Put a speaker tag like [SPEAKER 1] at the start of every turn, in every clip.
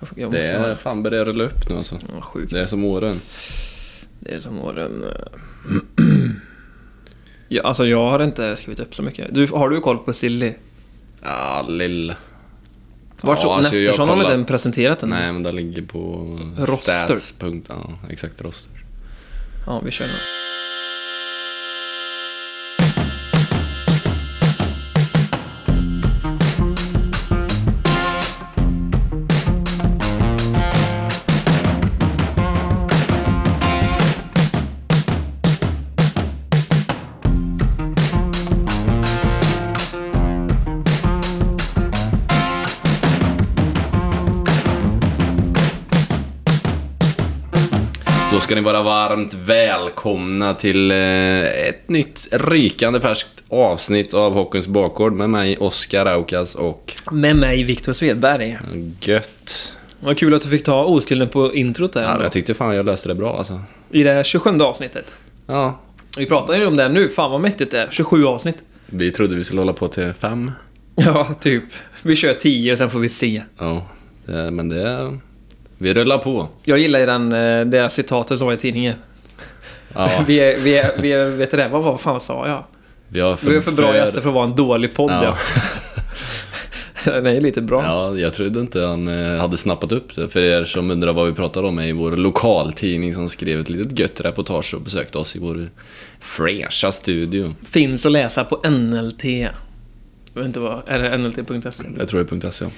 [SPEAKER 1] Jag, jag
[SPEAKER 2] Det
[SPEAKER 1] måste ha
[SPEAKER 2] är
[SPEAKER 1] en-
[SPEAKER 2] fan börjar rulla upp nu alltså.
[SPEAKER 1] Ja, sjukt.
[SPEAKER 2] Det är som åren.
[SPEAKER 1] Det är som åren... eh, ja, alltså jag har inte skrivit upp så mycket. Du, har du koll på Silly?
[SPEAKER 2] Ja, lill.
[SPEAKER 1] Vart så,
[SPEAKER 2] Ja, alltså, jag
[SPEAKER 1] Nesterson har väl inte
[SPEAKER 2] kollar-
[SPEAKER 1] ens presenterat den?
[SPEAKER 2] Nej, men det ligger på
[SPEAKER 1] Roster.
[SPEAKER 2] stats. punkt- Ja, exakt roster.
[SPEAKER 1] Ja, vi kör nu.
[SPEAKER 2] Då ska ni vara varmt välkomna till eh, ett nytt rykande färskt avsnitt av Hockeyns bakgård med mig Oskar Aukas och
[SPEAKER 1] Med mig Viktor Svedberg.
[SPEAKER 2] Gött.
[SPEAKER 1] Vad kul att du fick ta oskulden på introt där.
[SPEAKER 2] Ja,
[SPEAKER 1] ändå.
[SPEAKER 2] jag tyckte fan jag löste det bra alltså.
[SPEAKER 1] I det här 27 avsnittet.
[SPEAKER 2] Ja,
[SPEAKER 1] Vi pratar ju om det här nu, fan vad mäktigt det är. 27 avsnitt.
[SPEAKER 2] vi trodde vi skulle hålla på till fem.
[SPEAKER 1] Ja, typ. Vi kör 10 och sen får vi se.
[SPEAKER 2] Ja, det- men det... Vi rullar på.
[SPEAKER 1] Jag gillar ju den, eh, det här citatet som var i tidningen.
[SPEAKER 2] Ja,
[SPEAKER 1] Vi är, vi är, vi är, vet du det? Vad, vad fan sa jag?
[SPEAKER 2] vi har
[SPEAKER 1] Vi är för bra gäster för att vara en dålig podd ja.
[SPEAKER 2] Ja.
[SPEAKER 1] Den är lite bra.
[SPEAKER 2] Ja, jag trodde inte han eh, hade snappat upp det. För er som undrar vad vi pratar om är i vår lokaltidning som skrev ett litet gött reportage och besökte oss i vår fräscha studio.
[SPEAKER 1] Finns att läsa på NLT. Jag vet inte vad, är det NLT.se?
[SPEAKER 2] Jag tror det är E .se.
[SPEAKER 1] E?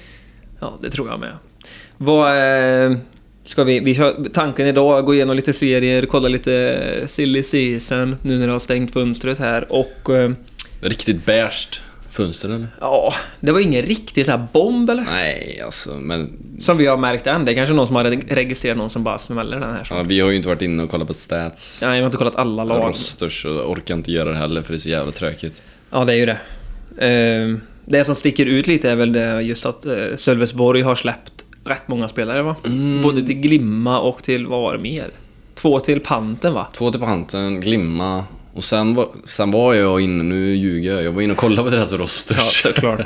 [SPEAKER 1] Ja, det tror jag med. Vad... eh, Ska vi, vi kör, tanken idag, gå igenom lite serier, kolla lite eh, silly season nu när det har stängt fönstret här och... eh,
[SPEAKER 2] Riktigt beige fönster eller?
[SPEAKER 1] Ja, det var ingen riktig så här bomb eller?
[SPEAKER 2] Nej, alltså men...
[SPEAKER 1] Som vi har märkt än. Det är kanske någon som har reg- registrerat någon som bara smäller den här. Så.
[SPEAKER 2] Ja, vi har ju inte varit inne och kollat på stats.
[SPEAKER 1] Nej, jag har inte kollat alla lag.
[SPEAKER 2] Rosters och orkar inte göra det heller för det är så jävla tråkigt.
[SPEAKER 1] Ja, det är ju det. Ehm, det som sticker ut lite är väl det just att eh, Sölvesborg har släppt rätt många spelare va?
[SPEAKER 2] Mm.
[SPEAKER 1] Både till Glimma och till, vad var det mer? Två till Panten va?
[SPEAKER 2] Två till på hanten, Glimma. Och sen var, sen var jag inne, nu ljuger jag, jag var inne och kollade på deras rosters.
[SPEAKER 1] Ja, såklart.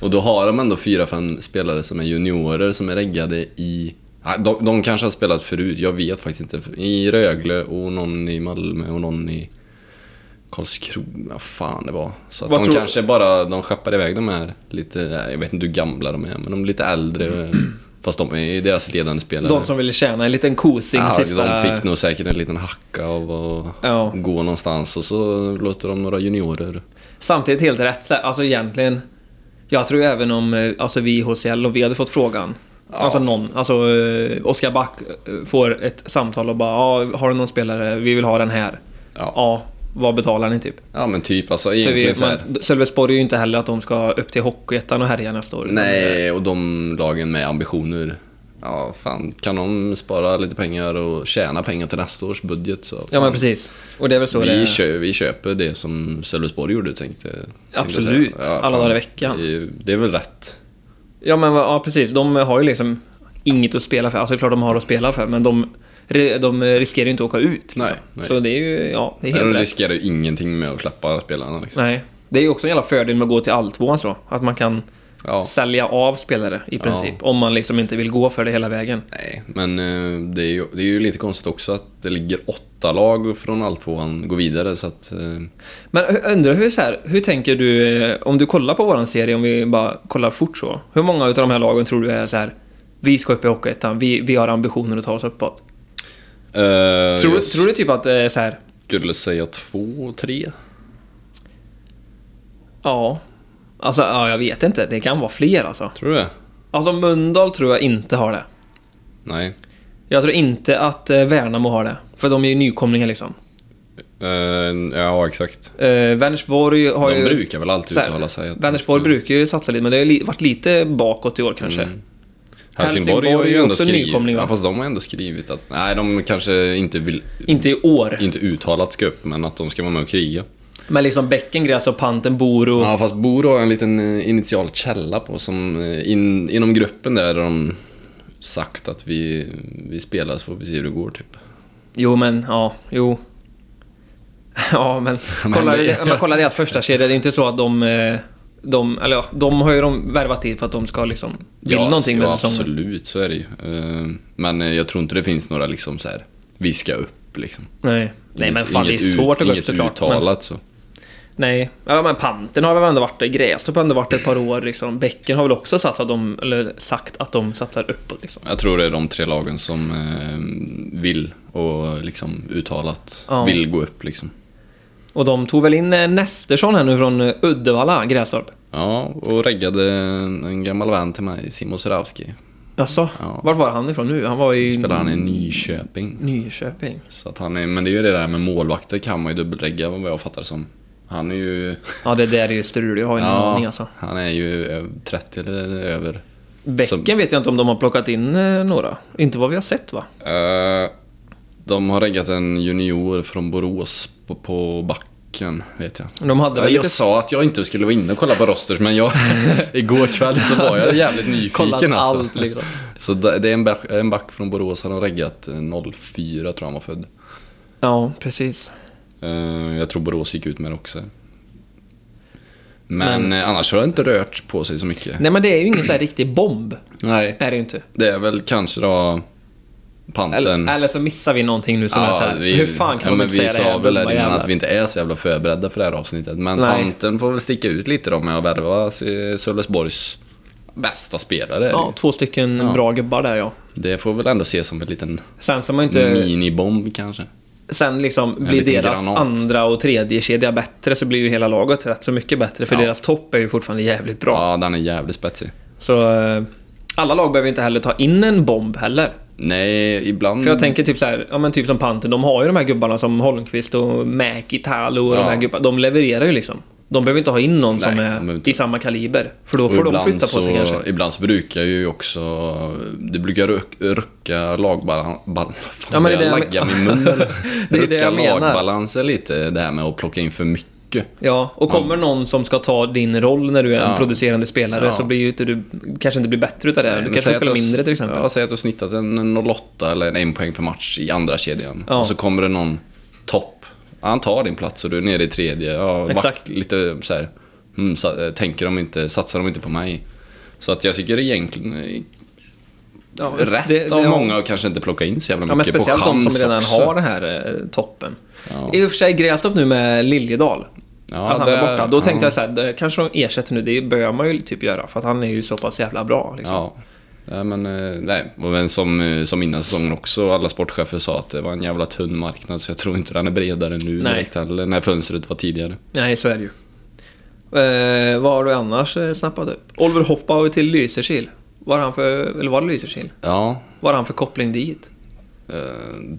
[SPEAKER 2] och då har de ändå fyra, fem spelare som är juniorer som är reggade i... Ja, De, de kanske har spelat förut, jag vet faktiskt inte. I Rögle och någon i Malmö och någon i Karlskrona, fan det var. Så att
[SPEAKER 1] Vad
[SPEAKER 2] de
[SPEAKER 1] tror-
[SPEAKER 2] kanske bara, de skeppar iväg de här lite, jag vet inte hur gamla de är, men de är lite äldre. Fast de är ju deras ledande spelare.
[SPEAKER 1] De som ville tjäna en liten kosing
[SPEAKER 2] Ja,
[SPEAKER 1] sista...
[SPEAKER 2] de fick nog säkert en liten hacka av att
[SPEAKER 1] Ja.
[SPEAKER 2] gå någonstans och så låter de några juniorer.
[SPEAKER 1] Samtidigt helt rätt. så här, Alltså egentligen... Jag tror även om eh, alltså, vi i HCL, om vi hade fått frågan. Alltså någon. Alltså eh, Oskar Back eh, får ett samtal och bara ja, har du någon spelare? Vi vill ha den här.
[SPEAKER 2] Ja.
[SPEAKER 1] Ja, vad betalar ni typ?
[SPEAKER 2] Ja men typ alltså
[SPEAKER 1] För
[SPEAKER 2] egentligen
[SPEAKER 1] vi,
[SPEAKER 2] så här.
[SPEAKER 1] man, Sölvesborg är ju inte heller att de ska upp till Hockeyettan och härja nästa år.
[SPEAKER 2] Nej, och de lagen med ambitioner. Ja, fan. Kan de spara lite pengar och tjäna pengar till nästa års budget så...
[SPEAKER 1] Ja men
[SPEAKER 2] fan,
[SPEAKER 1] precis. Och det är väl så det
[SPEAKER 2] Vi,
[SPEAKER 1] är.
[SPEAKER 2] kö, vi köper det som Sölvesborg gjorde tänkte tänkte jag säga.
[SPEAKER 1] Absolut. Alla
[SPEAKER 2] fan,
[SPEAKER 1] dagar i veckan.
[SPEAKER 2] Det, är- det är väl rätt.
[SPEAKER 1] Ja men vad- ja, precis, de har ju liksom inget att spela för. Alltså det är klart de har att spela för men de, de riskerar ju inte att åka ut. Liksom.
[SPEAKER 2] Nej, nej.
[SPEAKER 1] Så det är ju, ja, det är helt
[SPEAKER 2] De
[SPEAKER 1] rätt.
[SPEAKER 2] riskerar ju ingenting med att släppa spelarna liksom.
[SPEAKER 1] Nej. Det är ju också en jävla fördel med att gå till alltvåan så. Att man kan
[SPEAKER 2] Ja.
[SPEAKER 1] sälja av spelare i princip. Om man liksom inte vill gå för det hela vägen.
[SPEAKER 2] Nej, men eh, det är, ju, det är ju lite konstigt också att det ligger åtta lag från alltvåan går vidare så att... eh,
[SPEAKER 1] Men jag undrar hur så här, hur tänker du, eh, om du kollar på våran serie, om vi bara kollar fort så. Hur många av de här lagen tror du är så här, vi ska upp i Hockeyettan, vi, vi har ambitioner att ta oss uppåt?
[SPEAKER 2] eh,
[SPEAKER 1] Tror,
[SPEAKER 2] jag
[SPEAKER 1] tror du typ att det är så här,
[SPEAKER 2] skulle säga två, tre.
[SPEAKER 1] ja, alltså ja, jag vet inte, det kan vara fler alltså.
[SPEAKER 2] Tror du det?
[SPEAKER 1] Alltså Mölndal tror jag inte har det.
[SPEAKER 2] Nej.
[SPEAKER 1] Jag tror inte att eh, Värnamo har det, för de är ju nykomlingar liksom.
[SPEAKER 2] Eh, ja, exakt.
[SPEAKER 1] Eh, Vänersborg har
[SPEAKER 2] De
[SPEAKER 1] ju...
[SPEAKER 2] brukar väl alltid
[SPEAKER 1] så här,
[SPEAKER 2] uttala sig. att de
[SPEAKER 1] Vänersborg
[SPEAKER 2] ska-
[SPEAKER 1] brukar ju satsa lite, men det har ju li- varit lite bakåt i år kanske.
[SPEAKER 2] Mm, Helsingborg har
[SPEAKER 1] Helsingborg
[SPEAKER 2] ju
[SPEAKER 1] är
[SPEAKER 2] ändå
[SPEAKER 1] också
[SPEAKER 2] skrivit...
[SPEAKER 1] nykomling, va?
[SPEAKER 2] ja, fast de har ändå skrivit att... Nej, de kanske inte vill...
[SPEAKER 1] Inte i år.
[SPEAKER 2] Inte uttalat ska upp, men att de ska vara med och kriga.
[SPEAKER 1] Men liksom bäcken, gräs och panten, Boro.
[SPEAKER 2] Ja, fast Bor har en liten eh, initial källa på som eh, in, inom gruppen där har de sagt att vi, vi spelar så får vi se hur det går typ.
[SPEAKER 1] Jo, men ja, jo. Ja, men kolla,
[SPEAKER 2] det-
[SPEAKER 1] om man kollar deras första kedja, det är inte så att de eh, de, eller ja, de har ju de värvat till för att de ska liksom vill
[SPEAKER 2] ja,
[SPEAKER 1] någonting med
[SPEAKER 2] ja,
[SPEAKER 1] säsongen.
[SPEAKER 2] absolut, så är det ju. Eh, Men eh, jag tror inte det finns några liksom så här, vi ska upp liksom.
[SPEAKER 1] Nej, nej men
[SPEAKER 2] Inget-
[SPEAKER 1] fan det är
[SPEAKER 2] inget ut-
[SPEAKER 1] svårt att gå upp
[SPEAKER 2] inget
[SPEAKER 1] såklart. Men,
[SPEAKER 2] uttalat så.
[SPEAKER 1] nej, ja, men Pantern har väl ändå varit det. Grästorp har ändå varit det ett par år liksom. Bäcken har väl också sagt att de, eller sagt att de satsar uppåt liksom.
[SPEAKER 2] Jag tror det är de tre lagen som eh, vill och liksom uttalat
[SPEAKER 1] Ja.
[SPEAKER 2] vill gå upp liksom.
[SPEAKER 1] Och de tog väl in eh, Nestersson här nu från eh, Uddevalla, Grästorp.
[SPEAKER 2] Ja, och reggade en, en gammal vän till mig, Simon Sorawski.
[SPEAKER 1] Jaså,
[SPEAKER 2] Ja.
[SPEAKER 1] vart var han ifrån nu? Han var i
[SPEAKER 2] Spelar han i Nyköping.
[SPEAKER 1] Nyköping.
[SPEAKER 2] Så att han är, men det är ju det där med målvakter kan man ju dubbelregga vad jag fattar som. Han är ju...
[SPEAKER 1] Ja, det där är ju strul. Jag har ingen aning alltså.
[SPEAKER 2] han är ju över 30 eller över.
[SPEAKER 1] Bäcken
[SPEAKER 2] Så-
[SPEAKER 1] vet jag inte om de har plockat in eh, några. Inte vad vi har sett va?
[SPEAKER 2] Eh, de har reggat en junior från Borås på, på backen, vet jag.
[SPEAKER 1] De hade
[SPEAKER 2] Ja,
[SPEAKER 1] väl
[SPEAKER 2] Jag
[SPEAKER 1] lite...
[SPEAKER 2] sa att jag inte skulle vara inne och kolla på rosters, men jag, igår kväll så var jag jävligt
[SPEAKER 1] kollat
[SPEAKER 2] nyfiken alltså.
[SPEAKER 1] allt liksom.
[SPEAKER 2] Så det det är en back, en back från Borås, han har reggat eh, 04 tror jag han var född.
[SPEAKER 1] Ja, precis.
[SPEAKER 2] Eh, Jag tror Borås gick ut med det också. Men, eh, annars har det inte rört på sig så mycket.
[SPEAKER 1] Nej men det är ju ingen så här riktig bomb.
[SPEAKER 2] Nej,
[SPEAKER 1] Är det ju inte.
[SPEAKER 2] det är väl kanske då
[SPEAKER 1] Eller,
[SPEAKER 2] panten.
[SPEAKER 1] eller så missar vi någonting nu som är så här, Hur fan kan
[SPEAKER 2] ja,
[SPEAKER 1] man
[SPEAKER 2] men
[SPEAKER 1] inte säga det
[SPEAKER 2] Vi sa
[SPEAKER 1] här?
[SPEAKER 2] väl
[SPEAKER 1] dumma
[SPEAKER 2] här innan
[SPEAKER 1] jävlar?
[SPEAKER 2] att vi inte är så jävla förberedda för det här avsnittet. Men
[SPEAKER 1] Nej.
[SPEAKER 2] panten får väl sticka ut lite då med att värva eh, Sölvesborgs bästa spelare.
[SPEAKER 1] Ja, två stycken bra gubbar där ja.
[SPEAKER 2] Det får väl ändå ses som en liten
[SPEAKER 1] Sen så man inte...
[SPEAKER 2] minibomb kanske.
[SPEAKER 1] Sen liksom blir
[SPEAKER 2] liten
[SPEAKER 1] deras
[SPEAKER 2] granat.
[SPEAKER 1] andra och tredje kedja bättre så blir ju hela laget rätt så mycket bättre. För
[SPEAKER 2] Ja.
[SPEAKER 1] deras topp är ju fortfarande jävligt bra.
[SPEAKER 2] Ja, den är jävligt spetsig.
[SPEAKER 1] Så eh, alla lag behöver inte heller ta in en bomb heller.
[SPEAKER 2] Nej, ibland...
[SPEAKER 1] För jag tänker typ så här, ja men typ som Panten, de har ju de här gubbarna som Holmqvist och Mäkitalo och de
[SPEAKER 2] Ja.
[SPEAKER 1] här gubbarna. De levererar ju liksom. De behöver inte ha in någon som
[SPEAKER 2] Nej, de behöver
[SPEAKER 1] är
[SPEAKER 2] inte.
[SPEAKER 1] i samma kaliber. För då
[SPEAKER 2] Och
[SPEAKER 1] får de
[SPEAKER 2] ibland
[SPEAKER 1] flytta på sig
[SPEAKER 2] så-
[SPEAKER 1] kanske.
[SPEAKER 2] Ibland så brukar ju också... Det brukar ruck- rucka lagbalans... Bal- fan,
[SPEAKER 1] Ja, men det är
[SPEAKER 2] jag
[SPEAKER 1] det jag
[SPEAKER 2] laggar min mun. eller?
[SPEAKER 1] Det är det
[SPEAKER 2] rucka
[SPEAKER 1] jag menar.
[SPEAKER 2] lagbalansen lite, det här med att plocka in för mycket.
[SPEAKER 1] Ja, och kommer någon som ska ta din roll när du är en
[SPEAKER 2] Ja.
[SPEAKER 1] producerande spelare
[SPEAKER 2] Ja,
[SPEAKER 1] så blir ju inte du, kanske inte blir bättre utav det.
[SPEAKER 2] Nej,
[SPEAKER 1] du
[SPEAKER 2] Eh, men
[SPEAKER 1] kanske
[SPEAKER 2] säg att
[SPEAKER 1] spelar
[SPEAKER 2] du har-
[SPEAKER 1] mindre till exempel.
[SPEAKER 2] Ja, säg att du har snittat en 08 eller en poäng per match i andra kedjan.
[SPEAKER 1] Ja.
[SPEAKER 2] Och så kommer det någon topp. Ja, Han tar din plats och du är nere i tredje. Ja, vakt-
[SPEAKER 1] Exakt.
[SPEAKER 2] Lite så här, mm, sa, eh, tänker de inte, satsar de inte på mig? Så att jag tycker det är egentligen eh,
[SPEAKER 1] Ja,
[SPEAKER 2] rätt
[SPEAKER 1] det- det
[SPEAKER 2] av
[SPEAKER 1] har-
[SPEAKER 2] många att kanske inte plocka in så jävla
[SPEAKER 1] Ja, men
[SPEAKER 2] mycket på
[SPEAKER 1] speciellt de
[SPEAKER 2] chans
[SPEAKER 1] som redan
[SPEAKER 2] också.
[SPEAKER 1] har den här eh, toppen.
[SPEAKER 2] Ja.
[SPEAKER 1] I och för sig Grästorp nu med Liljedal.
[SPEAKER 2] Ja,
[SPEAKER 1] att han
[SPEAKER 2] där-
[SPEAKER 1] är borta. Då tänkte
[SPEAKER 2] ja.
[SPEAKER 1] jag så här, det kanske de ersätter nu. Det bör man ju typ göra. För att han är ju så pass jävla bra. Liksom.
[SPEAKER 2] Ja. Nej, men, eh, nej. Och men som, eh, som innan säsongen också, alla sportchefer sa att det var en jävla tunn marknad, så jag tror inte den är bredare nu
[SPEAKER 1] Nej.
[SPEAKER 2] direkt heller, när fönstret var tidigare.
[SPEAKER 1] Nej, så är det ju. Eh, vad har du annars eh, snappat upp? Oliver Hoppau till Lysekil. Var han för, eller var det Lysekil?
[SPEAKER 2] Ja,
[SPEAKER 1] Var han för koppling dit?
[SPEAKER 2] Eh,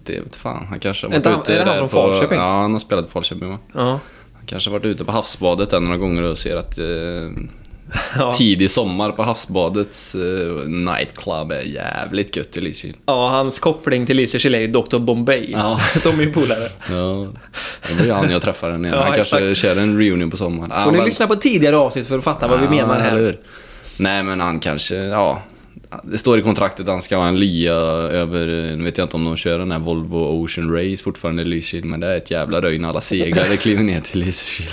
[SPEAKER 2] det vet fan, han kanske har
[SPEAKER 1] Är
[SPEAKER 2] varit
[SPEAKER 1] inte han-
[SPEAKER 2] ute
[SPEAKER 1] är det han
[SPEAKER 2] där
[SPEAKER 1] från
[SPEAKER 2] på,
[SPEAKER 1] Falköping?
[SPEAKER 2] Ja, han har spelat i Falköping va?
[SPEAKER 1] Ja.
[SPEAKER 2] Han kanske har varit ute på havsbadet där några gånger och ser att eh,
[SPEAKER 1] Ja,
[SPEAKER 2] tidig sommar på havsbadets eh, nightclub är jävligt gött i Lysekil.
[SPEAKER 1] ja hans koppling till Lysekil är ju Dr. Bombay.
[SPEAKER 2] Ja.
[SPEAKER 1] De är ju polare.
[SPEAKER 2] Ja, det var ju han jag träffade den igen.
[SPEAKER 1] Ja,
[SPEAKER 2] Han kanske
[SPEAKER 1] exakt.
[SPEAKER 2] kör en reunion på sommaren. Ah,
[SPEAKER 1] Får ni
[SPEAKER 2] men-
[SPEAKER 1] lyssna på tidigare avsnitt för att fatta vad vi
[SPEAKER 2] Ja,
[SPEAKER 1] menar
[SPEAKER 2] eller
[SPEAKER 1] här.
[SPEAKER 2] hur? Nej, men han kanske, ja. Det står i kontraktet att han ska ha en lya över, nu vet jag inte om de kör den här Volvo Ocean Race fortfarande i Lysekil, men det är ett jävla röj när alla seglare kliver ner till Lysekil.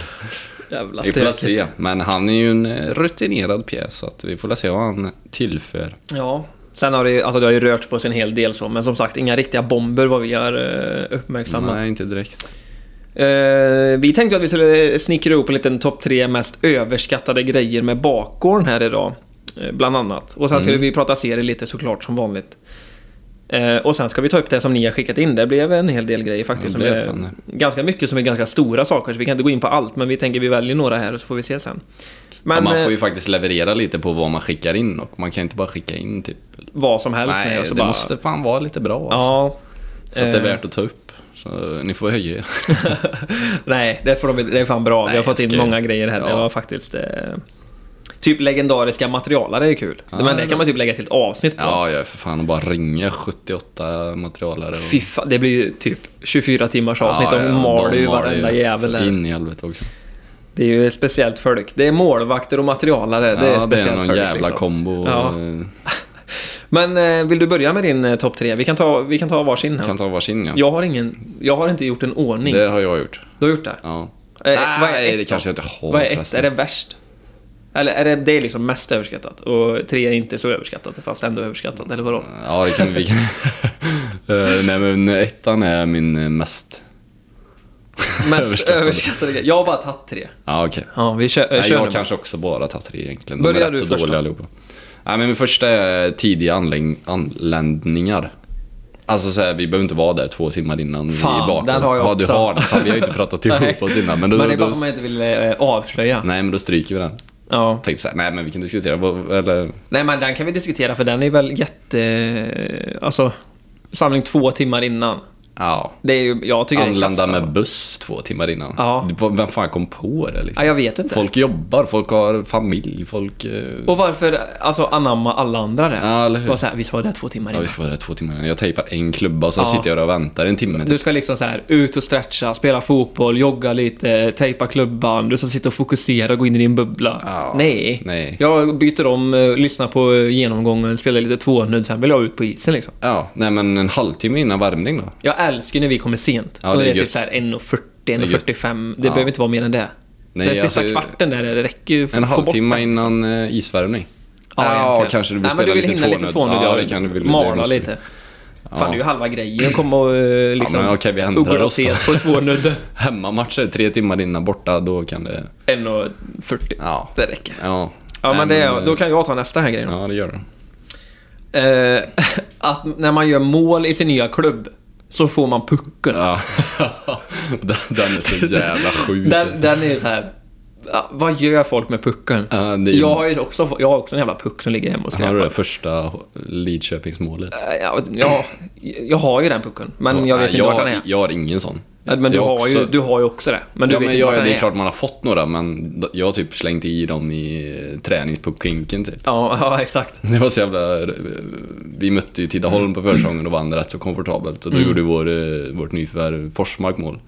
[SPEAKER 1] Jävla
[SPEAKER 2] Vi får väl
[SPEAKER 1] stökigt.
[SPEAKER 2] se, men han är ju en eh, rutinerad pjäs så att vi får väl se vad han tillför.
[SPEAKER 1] Ja. Sen har det, ju- alltså det har ju rört på sig en hel del så, men som sagt inga riktiga bomber vad vi har eh, uppmärksammat.
[SPEAKER 2] Nej, inte direkt.
[SPEAKER 1] Eh, vi tänkte att vi skulle snickra ihop en liten topp tre mest överskattade grejer med bakgården här idag. eh, Bland annat. Och sen skulle
[SPEAKER 2] Mm.
[SPEAKER 1] vi prata serie lite såklart som vanligt. Eh, och sen ska vi ta upp det som ni har skickat in. Det blev en hel del grejer faktiskt.
[SPEAKER 2] Ja,
[SPEAKER 1] Som
[SPEAKER 2] det blev
[SPEAKER 1] är
[SPEAKER 2] fan
[SPEAKER 1] ganska mycket som är ganska stora saker. Så vi kan inte gå in på allt. Men vi tänker vi väljer några här och så får vi se sen. Men
[SPEAKER 2] ja, man får ju
[SPEAKER 1] eh,
[SPEAKER 2] faktiskt leverera lite på vad man skickar in och man kan inte bara skicka in typ.
[SPEAKER 1] eh, vad som helst.
[SPEAKER 2] Nej,
[SPEAKER 1] och
[SPEAKER 2] det
[SPEAKER 1] så bara,
[SPEAKER 2] måste fan vara lite bra alltså.
[SPEAKER 1] Ja.
[SPEAKER 2] Så att det är
[SPEAKER 1] eh,
[SPEAKER 2] värt att ta upp. Så ni får höja er.
[SPEAKER 1] Nej, det, får de, inte- det är fan bra.
[SPEAKER 2] Nej,
[SPEAKER 1] Vi har fått
[SPEAKER 2] jag
[SPEAKER 1] in
[SPEAKER 2] skojar.
[SPEAKER 1] många grejer här. Det
[SPEAKER 2] Ja.
[SPEAKER 1] var faktiskt... Eh, typ legendariska materialare är kul. Men det kan man typ lägga till ett avsnitt på.
[SPEAKER 2] Ja, jag är för fan att bara ringa 78 materialare. Och...
[SPEAKER 1] Fy fan, det blir ju typ 24 timmars avsnitt. de maler ju
[SPEAKER 2] mal
[SPEAKER 1] varenda
[SPEAKER 2] ju
[SPEAKER 1] jävel
[SPEAKER 2] så
[SPEAKER 1] där.
[SPEAKER 2] In i helvete också.
[SPEAKER 1] Det är ju speciellt folk. Det är målvakter och materialare.
[SPEAKER 2] Ja,
[SPEAKER 1] det är
[SPEAKER 2] det är
[SPEAKER 1] speciellt
[SPEAKER 2] någon
[SPEAKER 1] folk.
[SPEAKER 2] jävla
[SPEAKER 1] liksom.
[SPEAKER 2] kombo.
[SPEAKER 1] Ja.
[SPEAKER 2] Eh,
[SPEAKER 1] Men eh, vill du börja med din eh, topp tre? Vi kan ta, vi kan ta varsin här.
[SPEAKER 2] Kan ta varsin ja.
[SPEAKER 1] Jag har ingen... Jag har inte gjort en ordning.
[SPEAKER 2] Det har jag gjort.
[SPEAKER 1] Du har gjort det?
[SPEAKER 2] Ja.
[SPEAKER 1] Eh,
[SPEAKER 2] Nej,
[SPEAKER 1] vad är ett
[SPEAKER 2] det
[SPEAKER 1] då?
[SPEAKER 2] kanske jag inte har
[SPEAKER 1] Vad är ett?
[SPEAKER 2] förresten.
[SPEAKER 1] Är det värst? Eller är det, det är liksom mest överskattat och tre är inte så överskattat fast ändå överskattat, eller vadå?
[SPEAKER 2] Ja, det kan vi... kan- Eh, nej, men ettan är min eh, mest...
[SPEAKER 1] Mest
[SPEAKER 2] Överskattade.
[SPEAKER 1] överskattade grej. Jag har bara tagit tre.
[SPEAKER 2] Ja, okej.
[SPEAKER 1] Ja, vi kör, äh,
[SPEAKER 2] Nej,
[SPEAKER 1] kör
[SPEAKER 2] jag
[SPEAKER 1] nu.
[SPEAKER 2] kanske också bara tagit tre egentligen. De är
[SPEAKER 1] Börjar
[SPEAKER 2] rätt
[SPEAKER 1] du
[SPEAKER 2] så
[SPEAKER 1] första?
[SPEAKER 2] dåliga allihopa. Nej, men min första är tidiga anläng- anländningar. Alltså så här, vi behöver inte vara där två timmar innan vi
[SPEAKER 1] Fan,
[SPEAKER 2] är bakna.
[SPEAKER 1] den har jag
[SPEAKER 2] ja, du
[SPEAKER 1] också.
[SPEAKER 2] har den. Fan, vi har ju inte pratat ihop
[SPEAKER 1] Nej.
[SPEAKER 2] oss innan. Men, då,
[SPEAKER 1] Men det är
[SPEAKER 2] då,
[SPEAKER 1] bara för att man inte vill eh, avslöja.
[SPEAKER 2] Nej, men då stryker vi den.
[SPEAKER 1] Ja.
[SPEAKER 2] Tänkte så här, nej men vi kan diskutera. vad- Eller,
[SPEAKER 1] Nej, men den kan vi diskutera för den är väl jätte... Alltså, samling två timmar innan.
[SPEAKER 2] ja.
[SPEAKER 1] Det är ju, jag tycker det är
[SPEAKER 2] Anlända
[SPEAKER 1] klass,
[SPEAKER 2] med
[SPEAKER 1] alltså.
[SPEAKER 2] buss två timmar innan.
[SPEAKER 1] Ja.
[SPEAKER 2] V- Vem fan kom på det liksom?
[SPEAKER 1] ja, Jag vet inte.
[SPEAKER 2] Folk jobbar, folk har familj, folk... eh,
[SPEAKER 1] Och varför alltså, anamma alla andra det?
[SPEAKER 2] Ja, eller hur?
[SPEAKER 1] Och så här, vi sa det här två timmar
[SPEAKER 2] Ja,
[SPEAKER 1] innan.
[SPEAKER 2] vi ska vara där två timmar innan. Jag tejpar en klubba och sen
[SPEAKER 1] Ja.
[SPEAKER 2] sitter jag där och väntar en timme.
[SPEAKER 1] Du ska liksom så här ut och stretcha, spela fotboll, jogga lite, tejpa klubban. Du ska sitta och fokusera och gå in i din bubbla.
[SPEAKER 2] Ja.
[SPEAKER 1] Nej.
[SPEAKER 2] Nej.
[SPEAKER 1] Jag byter om, eh, lyssnar på eh, genomgången, spelar lite tvåhundrad, sen vill jag ut på isen liksom.
[SPEAKER 2] Ja, nej men en halvtimme innan värmning då.
[SPEAKER 1] Jag älskar när vi kommer sent.
[SPEAKER 2] Ja,
[SPEAKER 1] Då
[SPEAKER 2] det är
[SPEAKER 1] är det
[SPEAKER 2] gött.
[SPEAKER 1] typ så här 1.40,
[SPEAKER 2] är gött.
[SPEAKER 1] 1.45. Det
[SPEAKER 2] Ja.
[SPEAKER 1] behöver inte vara mer än det.
[SPEAKER 2] Nej,
[SPEAKER 1] Den sista
[SPEAKER 2] alltså,
[SPEAKER 1] kvarten där, det räcker ju för
[SPEAKER 2] En
[SPEAKER 1] att få bort
[SPEAKER 2] halvtimme
[SPEAKER 1] den.
[SPEAKER 2] innan eh, isvärmning.
[SPEAKER 1] Ja, egentligen.
[SPEAKER 2] kanske du vill
[SPEAKER 1] Nej, men
[SPEAKER 2] spela
[SPEAKER 1] du vill
[SPEAKER 2] lite
[SPEAKER 1] hinna lite tvåhundrad.
[SPEAKER 2] Ja, det kan du väl. det
[SPEAKER 1] Mala
[SPEAKER 2] måste vi.
[SPEAKER 1] lite.
[SPEAKER 2] Ja.
[SPEAKER 1] Fan, det är ju halva grejen. Kom och eh, liksom...
[SPEAKER 2] ja, men okej, vi ändrar oss då.
[SPEAKER 1] oglaset på tvåhundrad.
[SPEAKER 2] Hemmamatcher tre timmar innan borta, då kan det...
[SPEAKER 1] 1.40.
[SPEAKER 2] Ja.
[SPEAKER 1] Det räcker.
[SPEAKER 2] Ja,
[SPEAKER 1] Ja,
[SPEAKER 2] Nej,
[SPEAKER 1] men det,
[SPEAKER 2] men, eh,
[SPEAKER 1] då kan jag ta nästa här grej då.
[SPEAKER 2] ja det gör det.
[SPEAKER 1] Eh, att när man gör mål i sin nya klubb så får man pucken.
[SPEAKER 2] Ja. den, den är så jävla sjuk.
[SPEAKER 1] Den, den är ju så här. ja, Vad gör folk med pucken?
[SPEAKER 2] Ja, det är ju-
[SPEAKER 1] Jag har ju också, jag har också en jävla puck som ligger hemma och
[SPEAKER 2] Har du
[SPEAKER 1] skräpar.
[SPEAKER 2] det första Lidköpingsmålet?
[SPEAKER 1] Eh, Ja, jag, jag har ju den pucken, men jag
[SPEAKER 2] Nej,
[SPEAKER 1] vet inte vart den är.
[SPEAKER 2] Jag har ingen sån.
[SPEAKER 1] Ja, Men du
[SPEAKER 2] Jag
[SPEAKER 1] har, ju,
[SPEAKER 2] också-
[SPEAKER 1] du har ju också det. Men du
[SPEAKER 2] ja,
[SPEAKER 1] vet
[SPEAKER 2] men
[SPEAKER 1] inte
[SPEAKER 2] jag,
[SPEAKER 1] vart den
[SPEAKER 2] det är
[SPEAKER 1] är.
[SPEAKER 2] klart man har fått några, men jag har typ slängt i dem i eh, träningspuckhinken typ.
[SPEAKER 1] Ja, ja, exakt.
[SPEAKER 2] Det var så jävla... eh, Vi mötte ju Tidaholm på försäsongen och vann rätt så komfortabelt. Och då
[SPEAKER 1] Mm.
[SPEAKER 2] gjorde vår, eh, vårt nyförvärv Forsmark mål.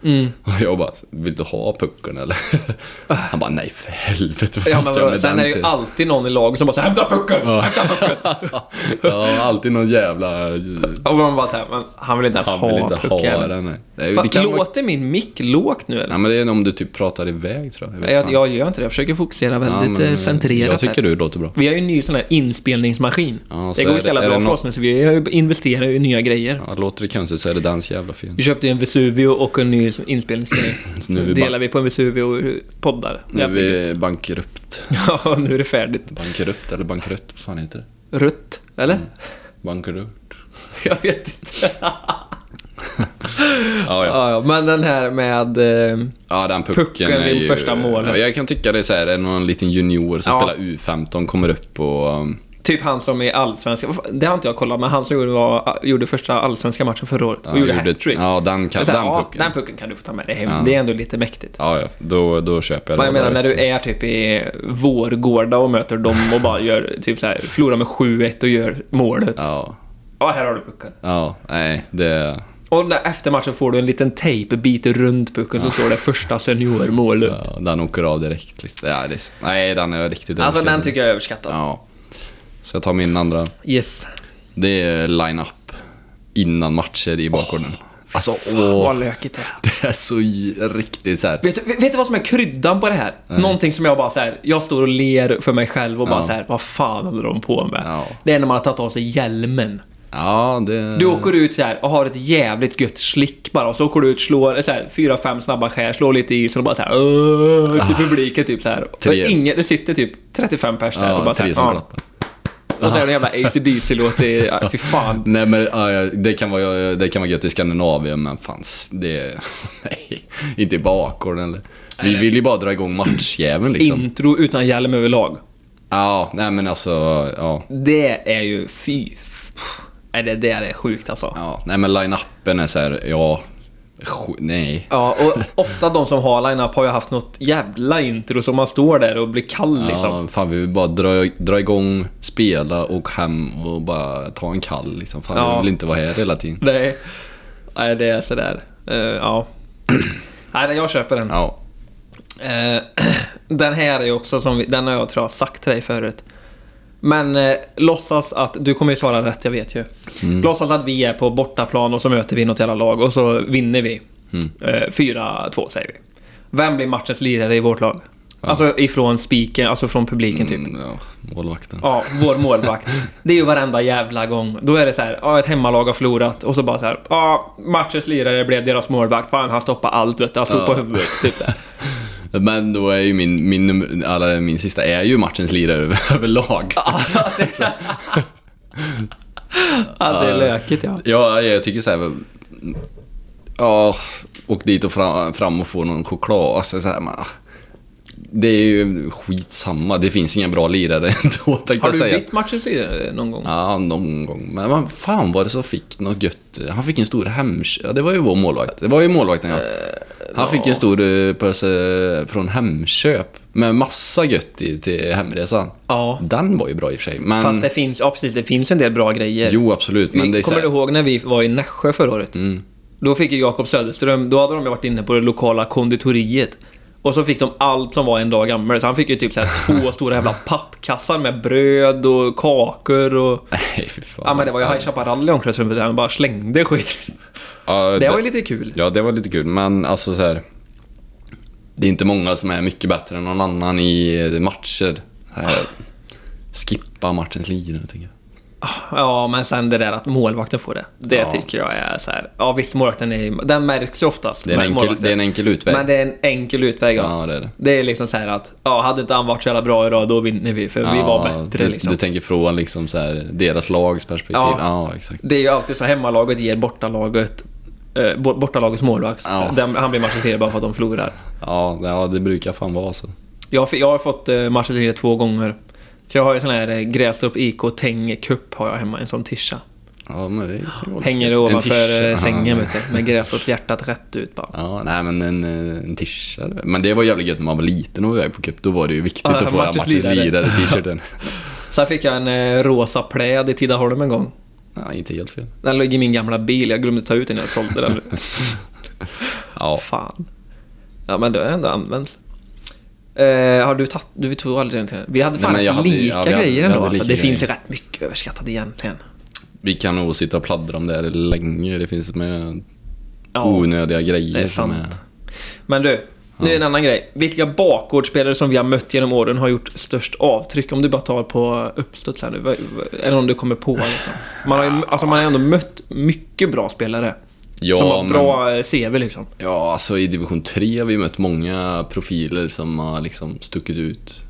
[SPEAKER 2] Och jag bara, vill du ha pucken eller? Han bara, nej för helvete vad
[SPEAKER 1] Ja,
[SPEAKER 2] fan
[SPEAKER 1] men
[SPEAKER 2] ska jag
[SPEAKER 1] vadå,
[SPEAKER 2] med
[SPEAKER 1] sen är
[SPEAKER 2] den
[SPEAKER 1] det ju
[SPEAKER 2] till?
[SPEAKER 1] alltid någon i laget som bara så här, “Hämta pucken!”
[SPEAKER 2] ja, alltid någon jävla... eh,
[SPEAKER 1] Och man bara så här, men han vill inte ens
[SPEAKER 2] Han vill
[SPEAKER 1] ha
[SPEAKER 2] inte ha
[SPEAKER 1] pucken.
[SPEAKER 2] den. nej. Nej,
[SPEAKER 1] Fan,
[SPEAKER 2] Det kan vara...
[SPEAKER 1] Låter min mick lågt nu eller?
[SPEAKER 2] Nej, men det är om du typ pratar iväg tror jag. vet
[SPEAKER 1] Nej, Jag,
[SPEAKER 2] fan.
[SPEAKER 1] jag gör inte det. Jag försöker fokusera
[SPEAKER 2] Ja,
[SPEAKER 1] väldigt
[SPEAKER 2] men,
[SPEAKER 1] eh, centrerat
[SPEAKER 2] Jag tycker
[SPEAKER 1] här.
[SPEAKER 2] du låter bra.
[SPEAKER 1] Vi har ju en ny sån här inspelningsmaskin.
[SPEAKER 2] Ja, så
[SPEAKER 1] det
[SPEAKER 2] är
[SPEAKER 1] går ju
[SPEAKER 2] det-
[SPEAKER 1] så jävla
[SPEAKER 2] är det
[SPEAKER 1] bra för
[SPEAKER 2] något-
[SPEAKER 1] oss nu, så vi har ju investerat i nya grejer.
[SPEAKER 2] Ja, låter det konstigt så är det dans jävla fel.
[SPEAKER 1] Vi köpte ju en Vesuvio och en ny sån inspelningsgrej.
[SPEAKER 2] Så nu är vi
[SPEAKER 1] delar vi på en Vesuvio och poddar.
[SPEAKER 2] Nu är
[SPEAKER 1] Jävligt gött.
[SPEAKER 2] vi bankrupt.
[SPEAKER 1] Ja, nu är det färdigt.
[SPEAKER 2] Bankrupt eller bankrutt, vad fan heter det?
[SPEAKER 1] Rutt, eller?
[SPEAKER 2] Mm. Bankrutt.
[SPEAKER 1] Jag vet inte.
[SPEAKER 2] Ja, ja.
[SPEAKER 1] Ja, ja, men den här med... eh,
[SPEAKER 2] ja den pucken,
[SPEAKER 1] Pucken
[SPEAKER 2] är
[SPEAKER 1] vid
[SPEAKER 2] ju...
[SPEAKER 1] första målet.
[SPEAKER 2] Ja, Jag kan tycka det är så här, är det någon liten junior som
[SPEAKER 1] Ja.
[SPEAKER 2] spelar U15 kommer upp och... um,
[SPEAKER 1] Typ han som är allsvenska. Vad fan, Det har inte jag kollat, men han som gjorde, var, gjorde första allsvenska matchen förra året och
[SPEAKER 2] ja,
[SPEAKER 1] gjorde hattrick.
[SPEAKER 2] Ja, den, kan,
[SPEAKER 1] Men så här,
[SPEAKER 2] den
[SPEAKER 1] ja,
[SPEAKER 2] pucken.
[SPEAKER 1] den pucken kan du få ta med dig hem. Det är ändå lite mäktigt.
[SPEAKER 2] Ja, ja. Då, då köper jag
[SPEAKER 1] Men jag
[SPEAKER 2] det.
[SPEAKER 1] menar när du är typ i Vårgårda och möter dem och bara gör typ så här, förlorar med 7-1 och gör målet. Ja,
[SPEAKER 2] Ja.
[SPEAKER 1] här har du pucken.
[SPEAKER 2] Ja, nej, det...
[SPEAKER 1] Och när, efter matchen får du en liten tejpbit runt pucken så står det första seniormålet.
[SPEAKER 2] Ja, den åker av direkt. Liksom. Ja, det är, nej, den är riktigt
[SPEAKER 1] Alltså den
[SPEAKER 2] överskattad.
[SPEAKER 1] tycker jag är överskattad.
[SPEAKER 2] Ja. Så jag tar min andra.
[SPEAKER 1] Yes.
[SPEAKER 2] Det är line-up innan matcher i bakgrunden. alltså, åh.
[SPEAKER 1] Vad lökigt det är.
[SPEAKER 2] Det är så j- riktigt så här.
[SPEAKER 1] Vet, du- vet du vad som är kryddan på det här? Någonting som jag bara så här, jag står och ler för mig själv och bara så här, vad fan håller de på med?
[SPEAKER 2] Ja.
[SPEAKER 1] Det är när man har tagit av sig hjälmen.
[SPEAKER 2] Ja, det...
[SPEAKER 1] Du åker ut så här och har ett jävligt gött slick bara och så åker du ut, slår så här, fyra, fem snabba skär, slår lite i isen och bara så här "Åh", ut till publiken typ så här. Och
[SPEAKER 2] Ah, Tre.
[SPEAKER 1] ingen, det sitter typ 35 pers där och
[SPEAKER 2] ja,
[SPEAKER 1] bara så
[SPEAKER 2] tre
[SPEAKER 1] här,
[SPEAKER 2] som
[SPEAKER 1] "Ja."
[SPEAKER 2] plattar.
[SPEAKER 1] Och så är det en jävla ACDC-låt i, ja, fy fan.
[SPEAKER 2] Nej men ja, ja, det, kan vara, det kan vara gött i Skandinavien men fanns det... Nej, inte i bakgården eller... Vi vill ju bara dra igång matchjäveln liksom.
[SPEAKER 1] Intro utan hjälm överlag.
[SPEAKER 2] Ja, nej men alltså... Ja,
[SPEAKER 1] Det är ju, fy. f- Nej, det där är sjukt alltså.
[SPEAKER 2] ja. Nej men line-upen är så här, ja... sk- Nej.
[SPEAKER 1] Ja, och ofta de som har line-up har ju haft något jävla intro så man står där och blir kall liksom.
[SPEAKER 2] Ja, fan vi vill bara dra, dra igång, spela, och hem och bara ta en kall liksom. Fan
[SPEAKER 1] Ja. Mm.
[SPEAKER 2] vi vill inte vara här hela tiden.
[SPEAKER 1] Nej, nej det är sådär. Uh, ja. Nej, nej, jag köper den.
[SPEAKER 2] Ja.
[SPEAKER 1] Eh, den här är också som vi, den har jag tror jag sagt till dig förut. Men eh, låtsas att, du kommer ju svara rätt, jag vet ju.
[SPEAKER 2] Mm.
[SPEAKER 1] Låtsas att vi är på bortaplan och så möter vi något jävla lag och
[SPEAKER 2] Mm.
[SPEAKER 1] så vinner vi. Eh, 4-2 säger vi. Vem blir matchens lirare i vårt lag? Alltså ifrån speaker, alltså från publiken typ.
[SPEAKER 2] Mm, ja, målvakten.
[SPEAKER 1] Ja, vår målvakt. Det är ju varenda jävla gång. Då är det så här, ja ett hemmalag har förlorat och så bara så här, ja matchens lirare blev deras målvakt. Fan, han stoppade allt vet du. Han stod
[SPEAKER 2] Ja.
[SPEAKER 1] på huvudet. Typ där.
[SPEAKER 2] Men då är ju min, min, nummer- alla, min sista är ju matchens lirare över- överlag.
[SPEAKER 1] Ja, det är lökigt ja.
[SPEAKER 2] Ja, jag tycker så här. Ja, åk dit och fram, fram och få någon choklad. Alltså, så här, man, det är ju skitsamma. Det finns inga bra lirare ändå, tänkte
[SPEAKER 1] Har
[SPEAKER 2] jag
[SPEAKER 1] du
[SPEAKER 2] säga.
[SPEAKER 1] bytt matchens lirare någon gång?
[SPEAKER 2] Ja, någon gång. Men vad fan var det som fick något gött? Han fick en stor Hemköp. Ja, det var ju vår målvakt. Det var ju målvakten, ja.
[SPEAKER 1] Eh,
[SPEAKER 2] Han fick en stor eh, påse från Hemköp med massa gött i till hemresan.
[SPEAKER 1] Ja.
[SPEAKER 2] Den var ju bra i och för sig. Men,
[SPEAKER 1] Fast det finns, ja precis, det finns en del bra grejer.
[SPEAKER 2] Jo, absolut. Men det är så
[SPEAKER 1] Kommer
[SPEAKER 2] här, Mm.
[SPEAKER 1] du ihåg när vi var i Nässjö förra året? Då fick ju Jakob Söderström, då hade de ju varit inne på det lokala konditoriet. Och så fick de allt som var en dag gammalt. Så han fick ju typ så här två stora jävla pappkassar med bröd och kakor och...
[SPEAKER 2] Nej, fy fan.
[SPEAKER 1] Ja men det var ju High Chaparral i omklädningsrummet där han bara slängde skit.
[SPEAKER 2] Ja,
[SPEAKER 1] Det
[SPEAKER 2] det-
[SPEAKER 1] var ju lite kul.
[SPEAKER 2] Ja, det var lite kul, men alltså så här. Det är inte många som är mycket bättre än någon annan i eh, matcher. Så här, skippa matchens lirare, tänker jag.
[SPEAKER 1] Ja men sen det där att målvakten får det. Det
[SPEAKER 2] Ja.
[SPEAKER 1] tycker jag är så här. Ja visst målvakten är Den märks ju oftast.
[SPEAKER 2] Det är en
[SPEAKER 1] med
[SPEAKER 2] enkel,
[SPEAKER 1] målvakten.
[SPEAKER 2] det är en enkel utväg.
[SPEAKER 1] Men det är en enkel utväg ja.
[SPEAKER 2] Ja, det är det.
[SPEAKER 1] Det är liksom så här att, ja, hade inte han varit så jävla bra idag, då vinner vi, för vi var
[SPEAKER 2] Ja,
[SPEAKER 1] bättre
[SPEAKER 2] du,
[SPEAKER 1] liksom.
[SPEAKER 2] du tänker från liksom så här, deras lags perspektiv.
[SPEAKER 1] Ja.
[SPEAKER 2] Ja, exakt.
[SPEAKER 1] Det är ju alltid så, hemmalaget ger bortalaget, eh, bo- bortalagets målvakt.
[SPEAKER 2] Ja.
[SPEAKER 1] Den, han blir matchens lirare bara för att de förlorar.
[SPEAKER 2] Ja, det- ja, det brukar fan vara så.
[SPEAKER 1] Jag, har fi- jag har fått eh, matchens lirare två gånger. Så jag har ju sån här eh, Grästorp IK Tenge Cup har jag hemma, en sån tischa.
[SPEAKER 2] Ja, men det kan ju vara lite
[SPEAKER 1] Hänger
[SPEAKER 2] gött. En
[SPEAKER 1] ovanför
[SPEAKER 2] tisha.
[SPEAKER 1] eh, sängen
[SPEAKER 2] Ja.
[SPEAKER 1] vet du, med Grästorps hjärtat rätt ut bara.
[SPEAKER 2] Ja, nej men en, eh, en tisha. Men det var jävligt gött när man var liten och var iväg på cup. Då var det ju viktigt
[SPEAKER 1] Ja,
[SPEAKER 2] att få
[SPEAKER 1] matchens
[SPEAKER 2] matchens
[SPEAKER 1] lirare.
[SPEAKER 2] lirare t-shirten.
[SPEAKER 1] Sen fick jag en eh, rosa pläd i Tidaholm en gång.
[SPEAKER 2] ja, inte helt fel.
[SPEAKER 1] Den låg i min gamla bil, jag glömde ta ut den när jag sålde den.
[SPEAKER 2] Ja,
[SPEAKER 1] Fan. Ja men det har ändå använts. Eh, har du tagit... Du vi tog aldrig den till Vi hade
[SPEAKER 2] Nej,
[SPEAKER 1] fan
[SPEAKER 2] men jag hade-
[SPEAKER 1] lika
[SPEAKER 2] ja, vi hade- vi
[SPEAKER 1] grejer ändå.
[SPEAKER 2] hade
[SPEAKER 1] Alltså, det
[SPEAKER 2] lika
[SPEAKER 1] finns ju
[SPEAKER 2] grejer. Oh,
[SPEAKER 1] rätt mycket överskattat egentligen.
[SPEAKER 2] Vi kan nog sitta och pladdra om det här länge. Det finns med
[SPEAKER 1] Ja,
[SPEAKER 2] onödiga grejer.
[SPEAKER 1] det är
[SPEAKER 2] som
[SPEAKER 1] sant. Men du, nu är en annan grej. Vilka bakgårdsspelare som vi har mött genom åren har gjort störst avtryck? Om du bara tar på uppstuds här nu. vad- vad- Är det någon du kommer på? Liksom? Man, har ju, alltså, man har ändå mött mycket bra spelare.
[SPEAKER 2] Ja,
[SPEAKER 1] som har
[SPEAKER 2] men-
[SPEAKER 1] bra eh, CV liksom.
[SPEAKER 2] Ja, alltså i division 3 har vi mött många profiler som har liksom stuckit ut.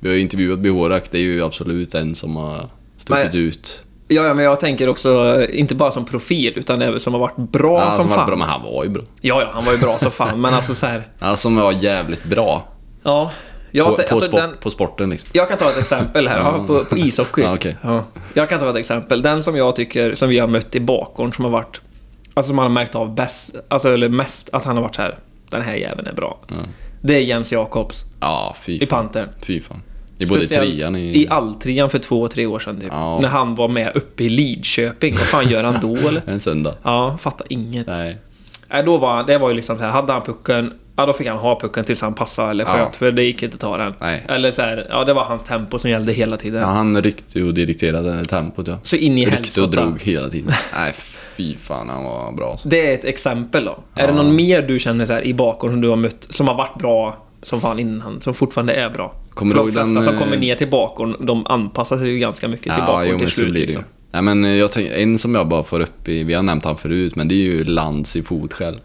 [SPEAKER 2] Vi har ju intervjuat Behorak, det är ju absolut en som har stuckit
[SPEAKER 1] Men-
[SPEAKER 2] ut.
[SPEAKER 1] Ja, ja, men jag tänker också, eh, inte bara som profil, utan även som har varit bra
[SPEAKER 2] Ja,
[SPEAKER 1] som,
[SPEAKER 2] som var
[SPEAKER 1] fan.
[SPEAKER 2] bra, men han var ju bra.
[SPEAKER 1] Ja, ja, han var ju bra som fan, men alltså så här.
[SPEAKER 2] Han som var jävligt bra
[SPEAKER 1] Ja.
[SPEAKER 2] på,
[SPEAKER 1] Jag,
[SPEAKER 2] på,
[SPEAKER 1] te- alltså,
[SPEAKER 2] sport,
[SPEAKER 1] den,
[SPEAKER 2] på sporten liksom.
[SPEAKER 1] jag kan ta ett exempel här, ja, på, på ishockey.
[SPEAKER 2] Ja, okej.
[SPEAKER 1] Ja. Jag kan ta ett exempel. Den som jag tycker, som vi har mött i bakgården, som har varit... Alltså som man har märkt av bäst, alltså, eller mest, att han har varit så här. Den här jäveln är bra. Det är Jens Jakobs
[SPEAKER 2] Ja, fy
[SPEAKER 1] i
[SPEAKER 2] fan.
[SPEAKER 1] Pantern.
[SPEAKER 2] Fy fan. I både
[SPEAKER 1] Speciellt
[SPEAKER 2] trean i...
[SPEAKER 1] I alltrean för två, tre år sedan typ.
[SPEAKER 2] Ja.
[SPEAKER 1] När han var med uppe i Lidköping. Vad fan gör han då eller?
[SPEAKER 2] En söndag.
[SPEAKER 1] Ja, fattar inget.
[SPEAKER 2] Nej.
[SPEAKER 1] Nej, då var han, det var ju liksom så här, hade han pucken, ja då fick han ha pucken tills han passade eller sköt,
[SPEAKER 2] Ja.
[SPEAKER 1] för det gick inte att ta den.
[SPEAKER 2] Nej.
[SPEAKER 1] Eller så här, ja det var hans tempo som gällde hela tiden.
[SPEAKER 2] Ja, han ryckte ju och dikterade tempot ja.
[SPEAKER 1] Så in i
[SPEAKER 2] Ryckte och
[SPEAKER 1] helskotta.
[SPEAKER 2] drog hela tiden. Nej, fy fan han var bra alltså.
[SPEAKER 1] Det är ett exempel då. Är det någon mer du känner så här i bakgrunden som du har mött, som har varit bra som fan innan, som fortfarande är bra?
[SPEAKER 2] Kommer
[SPEAKER 1] För
[SPEAKER 2] du
[SPEAKER 1] de
[SPEAKER 2] ihåg den,
[SPEAKER 1] flesta som
[SPEAKER 2] eh,
[SPEAKER 1] kommer ner till bakgrunden, de anpassar sig ju ganska mycket till bakgrunden till
[SPEAKER 2] så
[SPEAKER 1] slut.
[SPEAKER 2] blir det ju.
[SPEAKER 1] Liksom.
[SPEAKER 2] Nej, men eh, jag tänker, en som jag bara får upp i, vi har nämnt han förut, men det är ju Lantz i fotskäll.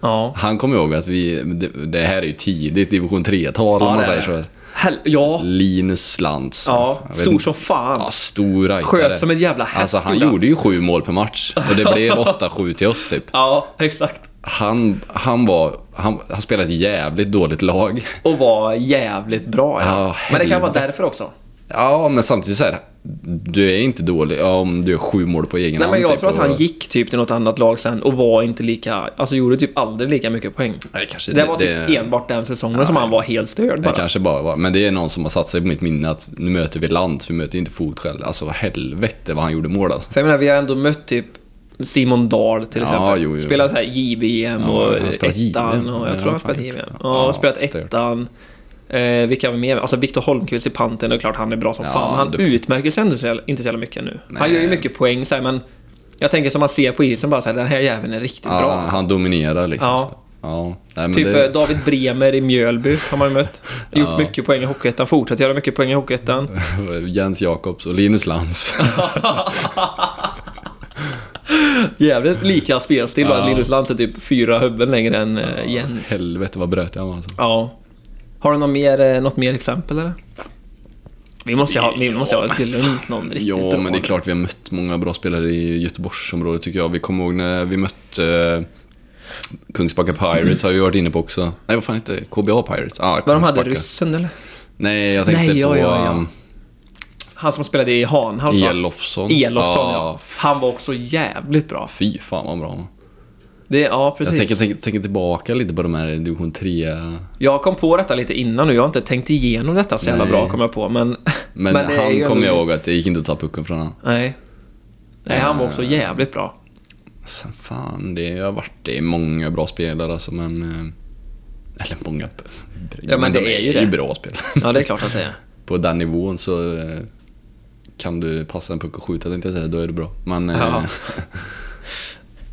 [SPEAKER 1] Ja.
[SPEAKER 2] Han kommer ihåg att vi, det, det här är ju tidigt division 3-tal
[SPEAKER 1] Ja,
[SPEAKER 2] om man
[SPEAKER 1] det är
[SPEAKER 2] säger
[SPEAKER 1] det.
[SPEAKER 2] så.
[SPEAKER 1] Hel- ja.
[SPEAKER 2] Linus Lantz.
[SPEAKER 1] Ja.
[SPEAKER 2] Jag vet
[SPEAKER 1] Stor
[SPEAKER 2] inte.
[SPEAKER 1] som fan.
[SPEAKER 2] Ja, stor rightare.
[SPEAKER 1] Sköt som en jävla häst,
[SPEAKER 2] Alltså han
[SPEAKER 1] gjorde han.
[SPEAKER 2] gjorde ju sju mål per match och det blev 8-7 till oss typ.
[SPEAKER 1] Ja, exakt.
[SPEAKER 2] Han, han var, han, han spelade ett jävligt dåligt lag.
[SPEAKER 1] Och var jävligt bra.
[SPEAKER 2] Ja,
[SPEAKER 1] Men det kan vara
[SPEAKER 2] helvete.
[SPEAKER 1] därför också.
[SPEAKER 2] Ja, men samtidigt så här. Du är inte dålig ja, om du gör sju mål på egen
[SPEAKER 1] Nej
[SPEAKER 2] hand.
[SPEAKER 1] men jag
[SPEAKER 2] typ,
[SPEAKER 1] tror att
[SPEAKER 2] och-
[SPEAKER 1] han gick typ till något annat lag sen och var inte lika, alltså gjorde typ aldrig lika mycket poäng.
[SPEAKER 2] Nej, kanske
[SPEAKER 1] Det var typ
[SPEAKER 2] Alltså, det-
[SPEAKER 1] enbart den säsongen som han var helt störd
[SPEAKER 2] Det
[SPEAKER 1] bara.
[SPEAKER 2] kanske bara var, men det är någon som har satt sig på mitt minne att nu möter vi land, vi möter inte fot själv. Alltså helvete vad han gjorde mål alltså.
[SPEAKER 1] För jag menar, vi har ändå mött typ Simon Dahl till
[SPEAKER 2] Ja,
[SPEAKER 1] exempel.
[SPEAKER 2] jo, jo.
[SPEAKER 1] Spelat så här JVM
[SPEAKER 2] Ja,
[SPEAKER 1] och
[SPEAKER 2] han har spelat
[SPEAKER 1] ettan
[SPEAKER 2] JVM.
[SPEAKER 1] och
[SPEAKER 2] Ja,
[SPEAKER 1] jag tror han
[SPEAKER 2] fan.
[SPEAKER 1] spelat JVM. Ja,
[SPEAKER 2] Ja,
[SPEAKER 1] spelat
[SPEAKER 2] stört.
[SPEAKER 1] ettan. Eh, vilka har vi mer? Alltså Viktor Holmqvist i Panten, det är klart han är bra som
[SPEAKER 2] Ja,
[SPEAKER 1] fan. Men Han
[SPEAKER 2] duktig.
[SPEAKER 1] utmärker sig ändå så jävla- inte så jävla mycket nu. Han
[SPEAKER 2] Nej.
[SPEAKER 1] gör ju mycket poäng så här, men jag tänker som man ser på isen bara så här, den här jäveln är riktigt
[SPEAKER 2] Ja,
[SPEAKER 1] bra. alltså.
[SPEAKER 2] han, han dominerar liksom.
[SPEAKER 1] Ja.
[SPEAKER 2] Ja, nej, men
[SPEAKER 1] Typ eh,
[SPEAKER 2] det,
[SPEAKER 1] David Bremer i Mjölby har man ju mött. Gjort
[SPEAKER 2] Ja.
[SPEAKER 1] mycket poäng i Hockeyettan, fortsatt göra mycket poäng i Hockeyettan.
[SPEAKER 2] Jens Jakobs och Linus Lantz.
[SPEAKER 1] Jävligt lika spelstil bara. Linus Lantz är typ fyra huvuden längre än eh, Jens.
[SPEAKER 2] Helvete vad brötig han var alltså.
[SPEAKER 1] Ja. Har du något mer, eh, något mer exempel eller? Vi måste ha, vi måste ha till någon riktigt
[SPEAKER 2] Ja,
[SPEAKER 1] bra.
[SPEAKER 2] men det är klart vi har mött många bra spelare i Göteborgsområdet tycker jag. Vi kommer ihåg när vi mötte eh, Kungsbacka Pirates har vi varit inne på också. Nej, vad fan inte KBA Pirates? Ah,
[SPEAKER 1] Vad de hade,
[SPEAKER 2] Kungsbacka.
[SPEAKER 1] ryssen eller?
[SPEAKER 2] Nej, jag tänkte
[SPEAKER 1] Nej, ja,
[SPEAKER 2] på
[SPEAKER 1] ja, ja.
[SPEAKER 2] um,
[SPEAKER 1] Han som spelade i Hanhals va?
[SPEAKER 2] Elofsson.
[SPEAKER 1] Elofsson ja.
[SPEAKER 2] Ah,
[SPEAKER 1] Han var också jävligt bra.
[SPEAKER 2] Fy fan vad bra han var.
[SPEAKER 1] Det, ja,
[SPEAKER 2] Jag
[SPEAKER 1] precis.
[SPEAKER 2] tänker,
[SPEAKER 1] Jag,
[SPEAKER 2] tänker, tänker tillbaka lite på de här i division 3.
[SPEAKER 1] kom på detta lite innan och jag har inte tänkt igenom detta så jävla
[SPEAKER 2] Nej.
[SPEAKER 1] bra kom jag på. Men,
[SPEAKER 2] Men,
[SPEAKER 1] det är
[SPEAKER 2] han
[SPEAKER 1] ju
[SPEAKER 2] kommer
[SPEAKER 1] ändå-
[SPEAKER 2] jag ihåg att det gick inte att ta pucken från han.
[SPEAKER 1] Nej. Nej, han var också jävligt bra.
[SPEAKER 2] Sen fan, det har varit det är många bra spelare alltså, men... eh, Eller många...
[SPEAKER 1] Ja, men det
[SPEAKER 2] de
[SPEAKER 1] är ju det.
[SPEAKER 2] bra spelare.
[SPEAKER 1] Ja, det är klart att det är.
[SPEAKER 2] På den nivån så eh, kan du passa en puck och skjuta tänkte jag säga, då är du bra. Men eh,
[SPEAKER 1] Ja,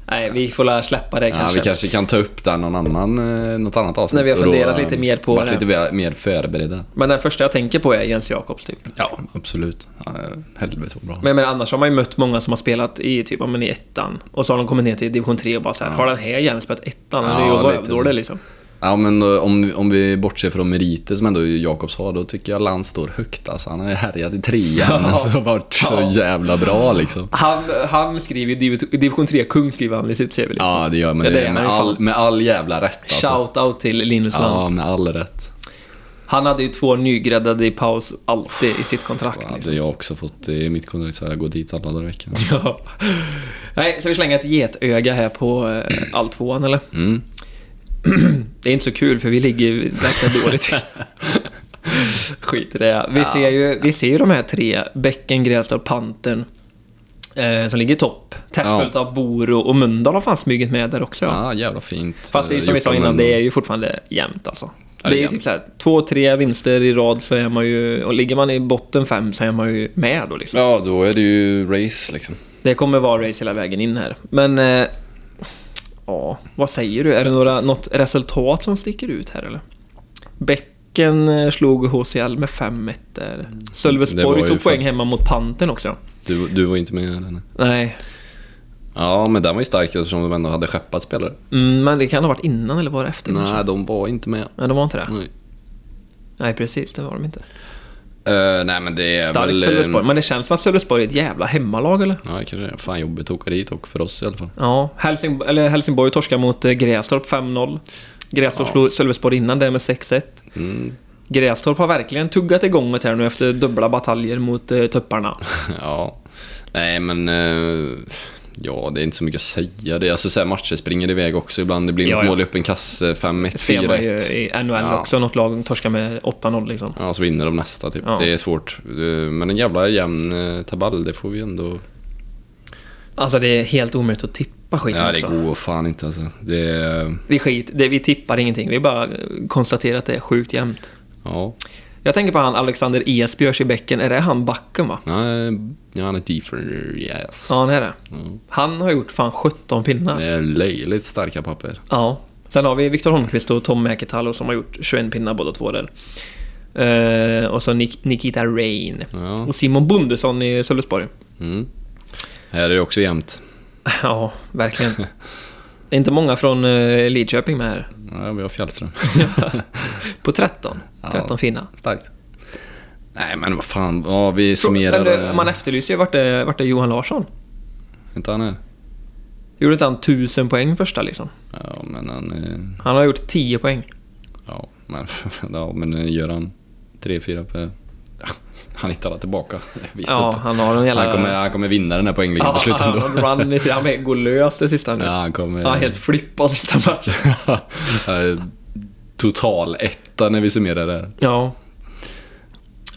[SPEAKER 1] Nej, vi får lära släppa det
[SPEAKER 2] ja,
[SPEAKER 1] kanske.
[SPEAKER 2] vi kanske kan ta upp den någon annan, eh, något annat avsnitt.
[SPEAKER 1] När vi har
[SPEAKER 2] och då,
[SPEAKER 1] funderat
[SPEAKER 2] eh,
[SPEAKER 1] lite mer på
[SPEAKER 2] varit
[SPEAKER 1] det.
[SPEAKER 2] lite mer- mer förberedda.
[SPEAKER 1] Men den första jag tänker på är Jens Jakobs typ.
[SPEAKER 2] Ja, absolut. Ja, helvete vad bra.
[SPEAKER 1] Men, men annars har man ju mött många som har spelat i typ, ja, men i ettan. Och så har de kommit ner till division 3 och bara såhär, har den här jäveln spelat ettan? Ja, det är
[SPEAKER 2] Ja,
[SPEAKER 1] ju
[SPEAKER 2] lite så.
[SPEAKER 1] rövdålig liksom.
[SPEAKER 2] Ja, men eh, om, om vi bortser från meriter som ändå Jakobs har, då tycker jag Lantz står högt. Alltså, han har ju härjat i trean
[SPEAKER 1] Ja.
[SPEAKER 2] alltså, och varit så
[SPEAKER 1] Ja.
[SPEAKER 2] jävla bra liksom.
[SPEAKER 1] Han, han skriver ju divi- division 3-kung skriver han i sitt CV liksom.
[SPEAKER 2] Ja, det gör man.
[SPEAKER 1] Det
[SPEAKER 2] Det,
[SPEAKER 1] är det,
[SPEAKER 2] med,
[SPEAKER 1] han är fan-
[SPEAKER 2] all, med all jävla rätt alltså.
[SPEAKER 1] Shout-out till Linus
[SPEAKER 2] Ja,
[SPEAKER 1] Lantz.
[SPEAKER 2] med all rätt.
[SPEAKER 1] Han hade ju två nygräddade i paus alltid i sitt kontrakt.
[SPEAKER 2] Ja,
[SPEAKER 1] liksom.
[SPEAKER 2] Hade jag också fått det i mitt kontrakt så hade jag gått dit alla dagar i veckan.
[SPEAKER 1] Ja. Nej, så vi slänger ett getöga här på eh, all tvåan eller?
[SPEAKER 2] Mm.
[SPEAKER 1] Det är inte så kul för vi ligger ju verkligen dåligt till. Skit i det. Vi, ser ju, vi ser ju de här tre, Bäcken, Grästorp, Pantern eh, som ligger i topp. Tätt
[SPEAKER 2] Ja.
[SPEAKER 1] följt av Boro och Mölndal har fan smugit med där också. Ja.
[SPEAKER 2] Ja, jävla fint. Eh,
[SPEAKER 1] Fast det är ju som vi sa
[SPEAKER 2] Gjort av
[SPEAKER 1] innan, det är
[SPEAKER 2] Mölndal.
[SPEAKER 1] ju fortfarande jämnt alltså.
[SPEAKER 2] Ja, det är
[SPEAKER 1] Det är ju
[SPEAKER 2] jämnt.
[SPEAKER 1] typ såhär, två, tre vinster i rad så är man ju, och ligger man i botten fem så är man ju med då liksom.
[SPEAKER 2] Ja, då är det ju race liksom.
[SPEAKER 1] Det kommer vara race hela vägen in här. Men... Eh, ja, vad säger du? Är det några, något resultat som sticker ut här eller? Bäcken eh, slog HCL med 5-1 där.
[SPEAKER 2] Mm. Det var
[SPEAKER 1] Sölvesborg
[SPEAKER 2] ju
[SPEAKER 1] tog poäng
[SPEAKER 2] fan-
[SPEAKER 1] hemma mot Panten också.
[SPEAKER 2] Du, du var inte med här eller?
[SPEAKER 1] Nej,
[SPEAKER 2] Ja, men den var ju stark eftersom de ändå hade skeppat spelare.
[SPEAKER 1] mm, men det kan ha varit innan eller var det efter kanske?
[SPEAKER 2] Nej, de var inte med.
[SPEAKER 1] Nej, de var inte det.
[SPEAKER 2] Nej.
[SPEAKER 1] Nej, precis. Det var de inte.
[SPEAKER 2] Eh, nej men det är väl...
[SPEAKER 1] Starkt
[SPEAKER 2] eh,
[SPEAKER 1] Sölvesborg. Men det känns som att Sölvesborg är ett jävla hemmalag eller?
[SPEAKER 2] Ja, det kanske är fan jobbigt att åka dit och för oss i alla fall.
[SPEAKER 1] Ja, Helsing, eller Helsingborg torskar mot eh, Grästorp 5-0. Grästorp slog Sölvesborg innan det med 6-1.
[SPEAKER 2] Mm.
[SPEAKER 1] Grästorp har verkligen tuggat igång det här nu efter dubbla bataljer mot eh, tupparna.
[SPEAKER 2] Ja. Nej men... eh, ja, det är inte så mycket att säga. Det är, alltså, så här, matcher springer iväg också ibland. Det blir
[SPEAKER 1] Ja,
[SPEAKER 2] ja,
[SPEAKER 1] ja.
[SPEAKER 2] mål i öppen kasse, 5-1,
[SPEAKER 1] Det ser man ju
[SPEAKER 2] 4-1.
[SPEAKER 1] i NHL
[SPEAKER 2] Ja.
[SPEAKER 1] också, något lag torskar med 8-0 liksom.
[SPEAKER 2] Ja, så vinner de nästa typ.
[SPEAKER 1] Ja.
[SPEAKER 2] Det är svårt. Eh, Men en jävla jämn eh, tabell, det får vi ändå...
[SPEAKER 1] Alltså det är helt omöjligt att tippa skiten
[SPEAKER 2] Ja, det
[SPEAKER 1] också.
[SPEAKER 2] går fan inte alltså. Det är...
[SPEAKER 1] Vi, skit, det, vi tippar ingenting, vi bara eh, konstaterar att det är sjukt jämnt.
[SPEAKER 2] Ja.
[SPEAKER 1] Jag tänker på han Alexander Esbjörs i bäcken, är det han backen va?
[SPEAKER 2] Nej, ja, han är deeper, yes.
[SPEAKER 1] Ja, han är det.
[SPEAKER 2] Mm.
[SPEAKER 1] Han har gjort fan 17 pinnar.
[SPEAKER 2] Det är löjligt starka papper.
[SPEAKER 1] Ja. Sen har vi Viktor Holmqvist och Tom Mäkitalo som har gjort 21 pinnar båda två där. Eh, och så Nik- Nikita Rain.
[SPEAKER 2] Ja.
[SPEAKER 1] Och Simon Bondesson i Sölvesborg.
[SPEAKER 2] Mm. Här är det också jämnt.
[SPEAKER 1] Ja, verkligen. Det är inte många från eh, Lidköping med här.
[SPEAKER 2] Ja, vi har Fjällström.
[SPEAKER 1] På 13.
[SPEAKER 2] Ja.
[SPEAKER 1] 13 fina.
[SPEAKER 2] Starkt. Nej men vad fan, ja, vi summerar... eh,
[SPEAKER 1] Men det, man efterlyser ju vart det, vart det är Johan Larsson.
[SPEAKER 2] Inte han är?
[SPEAKER 1] Gjorde inte han 1000 poäng första liksom?
[SPEAKER 2] Ja men han... eh,
[SPEAKER 1] Han har gjort 10 poäng.
[SPEAKER 2] Ja men, ja, men eh, gör han tre fyra per... Ja, han hittar alla tillbaka. Jag vet
[SPEAKER 1] Ja,
[SPEAKER 2] inte.
[SPEAKER 1] han har en jävla...
[SPEAKER 2] Han, kommer, han kommer vinna den här poängligan
[SPEAKER 1] ja,
[SPEAKER 2] till slut
[SPEAKER 1] han
[SPEAKER 2] ändå.
[SPEAKER 1] har en run i sig. Han går lös det sista nu.
[SPEAKER 2] Ja,
[SPEAKER 1] Ja,
[SPEAKER 2] han kommer...
[SPEAKER 1] han helt flippad sista matchen.
[SPEAKER 2] Eh, Total etta när vi summerar det här.
[SPEAKER 1] Ja.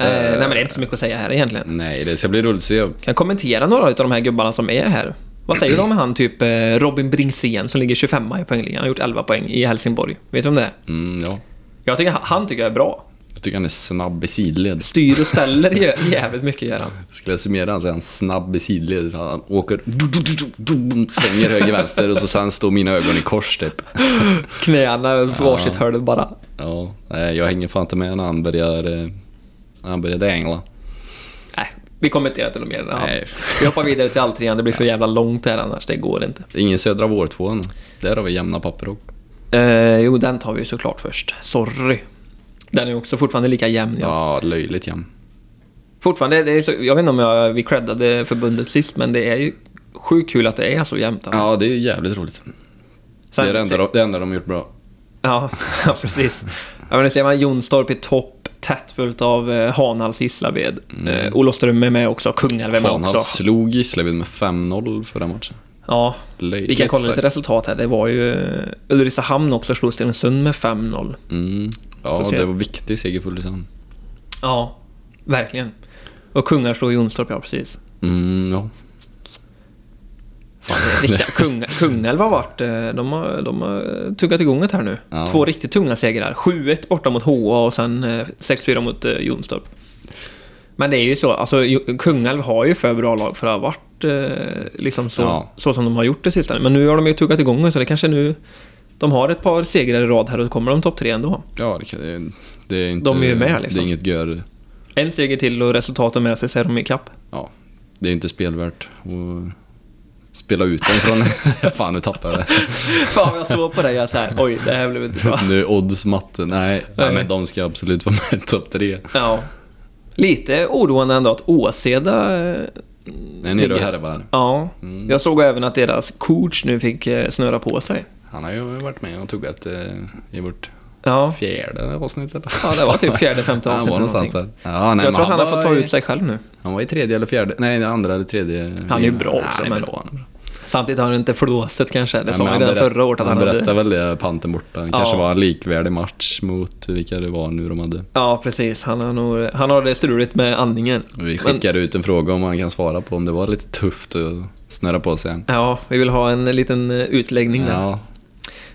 [SPEAKER 1] Eh, nej men det är inte så mycket att säga här egentligen.
[SPEAKER 2] Nej, det ska bli roligt att se.
[SPEAKER 1] Kan jag kommentera några av de här gubbarna som är här? Vad säger du om han typ eh, Robin Bringsén som ligger 25 i poängligan? Han har gjort 11 poäng i Helsingborg. Vet du om det? är?
[SPEAKER 2] Mm, ja.
[SPEAKER 1] Jag tycker han, han tycker jag är bra.
[SPEAKER 2] Jag tycker han är snabb i sidled.
[SPEAKER 1] Styr och ställer jä- jävligt mycket gör han.
[SPEAKER 2] Skulle jag summera han så är han snabb i sidled. Han åker, svänger höger, vänster och så sen står mina ögon i kors typ.
[SPEAKER 1] Knäna på varsitt hörn bara.
[SPEAKER 2] Ja, nej, jag hänger fan inte med när han börjar, eh, när han börjar dängla.
[SPEAKER 1] Nej, vi kommenterar inte något mer. än det här.
[SPEAKER 2] Nej.
[SPEAKER 1] Vi hoppar vidare till alltrean. Det blir för jävla långt här annars. Det går inte.
[SPEAKER 2] Ingen södra vårtvåan. Där har vi jämna papper och.
[SPEAKER 1] Eh, jo, den tar vi ju såklart först. Sorry. Den är också fortfarande lika jämn. Ja.
[SPEAKER 2] Ja, löjligt jämn.
[SPEAKER 1] Fortfarande, det är så, jag vet inte om jag, vi creddade förbundet sist, men det är ju sjukt kul att det är så jämnt. Alltså.
[SPEAKER 2] Ja, det är jävligt roligt.
[SPEAKER 1] Sen-
[SPEAKER 2] det, är det, enda, de- det enda de har gjort bra.
[SPEAKER 1] Ja, ja precis. Ja, men nu ser man Jonstorp i topp, tätt följt av eh, Hanhals Gislaved.
[SPEAKER 2] Mm.
[SPEAKER 1] Eh, Olofström är med också, Kungälv är med
[SPEAKER 2] Han
[SPEAKER 1] också.
[SPEAKER 2] slog Gislaved med 5-0 förra matchen.
[SPEAKER 1] Ja,
[SPEAKER 2] Löjligt
[SPEAKER 1] vi kan kolla lite
[SPEAKER 2] starkt.
[SPEAKER 1] resultat här. Det var ju eh, Ulricehamn också, slog Stenungsund med 5-0.
[SPEAKER 2] Mm. Ja,
[SPEAKER 1] Får se.
[SPEAKER 2] det var viktig seger för Ulricehamn.
[SPEAKER 1] Ja, verkligen. Och kungar slog Jonstorp, ja precis.
[SPEAKER 2] Mm, ja.
[SPEAKER 1] Fan, det är riktiga, kung, Kungälv har varit... eh, De har, de har eh, tuggat igång det här nu.
[SPEAKER 2] Ja.
[SPEAKER 1] Två riktigt tunga segrar. 7-1 borta mot HA och sen eh, 6-4 mot eh, Jonstorp. Men det är ju så, alltså Jo- Kungälv har ju för bra lag för att ha varit eh, liksom så,
[SPEAKER 2] Ja.
[SPEAKER 1] så som de har gjort det sista. Men nu har de ju tuggat igång det, så det kanske nu... De har ett par segrar i rad här och då kommer de topp tre ändå.
[SPEAKER 2] Ja, det, kan, det är inte...
[SPEAKER 1] De är ju med, liksom.
[SPEAKER 2] Det är inget gör...
[SPEAKER 1] En seger till och resultaten med sig så är de ikapp.
[SPEAKER 2] Ja, det är inte spelvärt att spela ut den från... Fan, nu tappade jag det.
[SPEAKER 1] Fan vad jag såg på dig att såhär, oj det här blev inte bra.
[SPEAKER 2] Nu är oddsmatte. Nej, nej,
[SPEAKER 1] Nej.
[SPEAKER 2] men de ska absolut vara med i topp tre.
[SPEAKER 1] Ja. Lite oroande ändå att Åseda... eh,
[SPEAKER 2] Nej, nere och
[SPEAKER 1] ligger-
[SPEAKER 2] härvar.
[SPEAKER 1] Ja. Mm. Jag såg även att deras coach nu fick eh, snurra på sig.
[SPEAKER 2] Han har ju varit med och tuggat eh, i vårt
[SPEAKER 1] Ja.
[SPEAKER 2] fjärde avsnitt eller?
[SPEAKER 1] Ja, det var typ fjärde, femte
[SPEAKER 2] Han var
[SPEAKER 1] avsnitt eller
[SPEAKER 2] någonstans
[SPEAKER 1] någonting.
[SPEAKER 2] där. Ja, nej,
[SPEAKER 1] Jag
[SPEAKER 2] men
[SPEAKER 1] tror att han har fått ta
[SPEAKER 2] var i-
[SPEAKER 1] ut sig själv nu.
[SPEAKER 2] Han var i tredje eller fjärde, nej det andra eller tredje.
[SPEAKER 1] Han är ju bra också,
[SPEAKER 2] Han är
[SPEAKER 1] men-
[SPEAKER 2] bra. Han, är bra.
[SPEAKER 1] Samtidigt har han inte flåset kanske. Det
[SPEAKER 2] Nej,
[SPEAKER 1] sa han
[SPEAKER 2] men han
[SPEAKER 1] ju redan
[SPEAKER 2] berätt-
[SPEAKER 1] förra året att han
[SPEAKER 2] berättade
[SPEAKER 1] hade.
[SPEAKER 2] väl det, panten borta. Det kanske
[SPEAKER 1] Ja.
[SPEAKER 2] var en likvärdig match mot vilka det var nu de hade.
[SPEAKER 1] Ja, precis. Han har, nog, han har det struligt med andningen.
[SPEAKER 2] Vi skickade ut en fråga om han kan svara på om det var lite tufft att snurra på sig.
[SPEAKER 1] Ja, vi vill ha en liten eh, utläggning där.
[SPEAKER 2] Ja,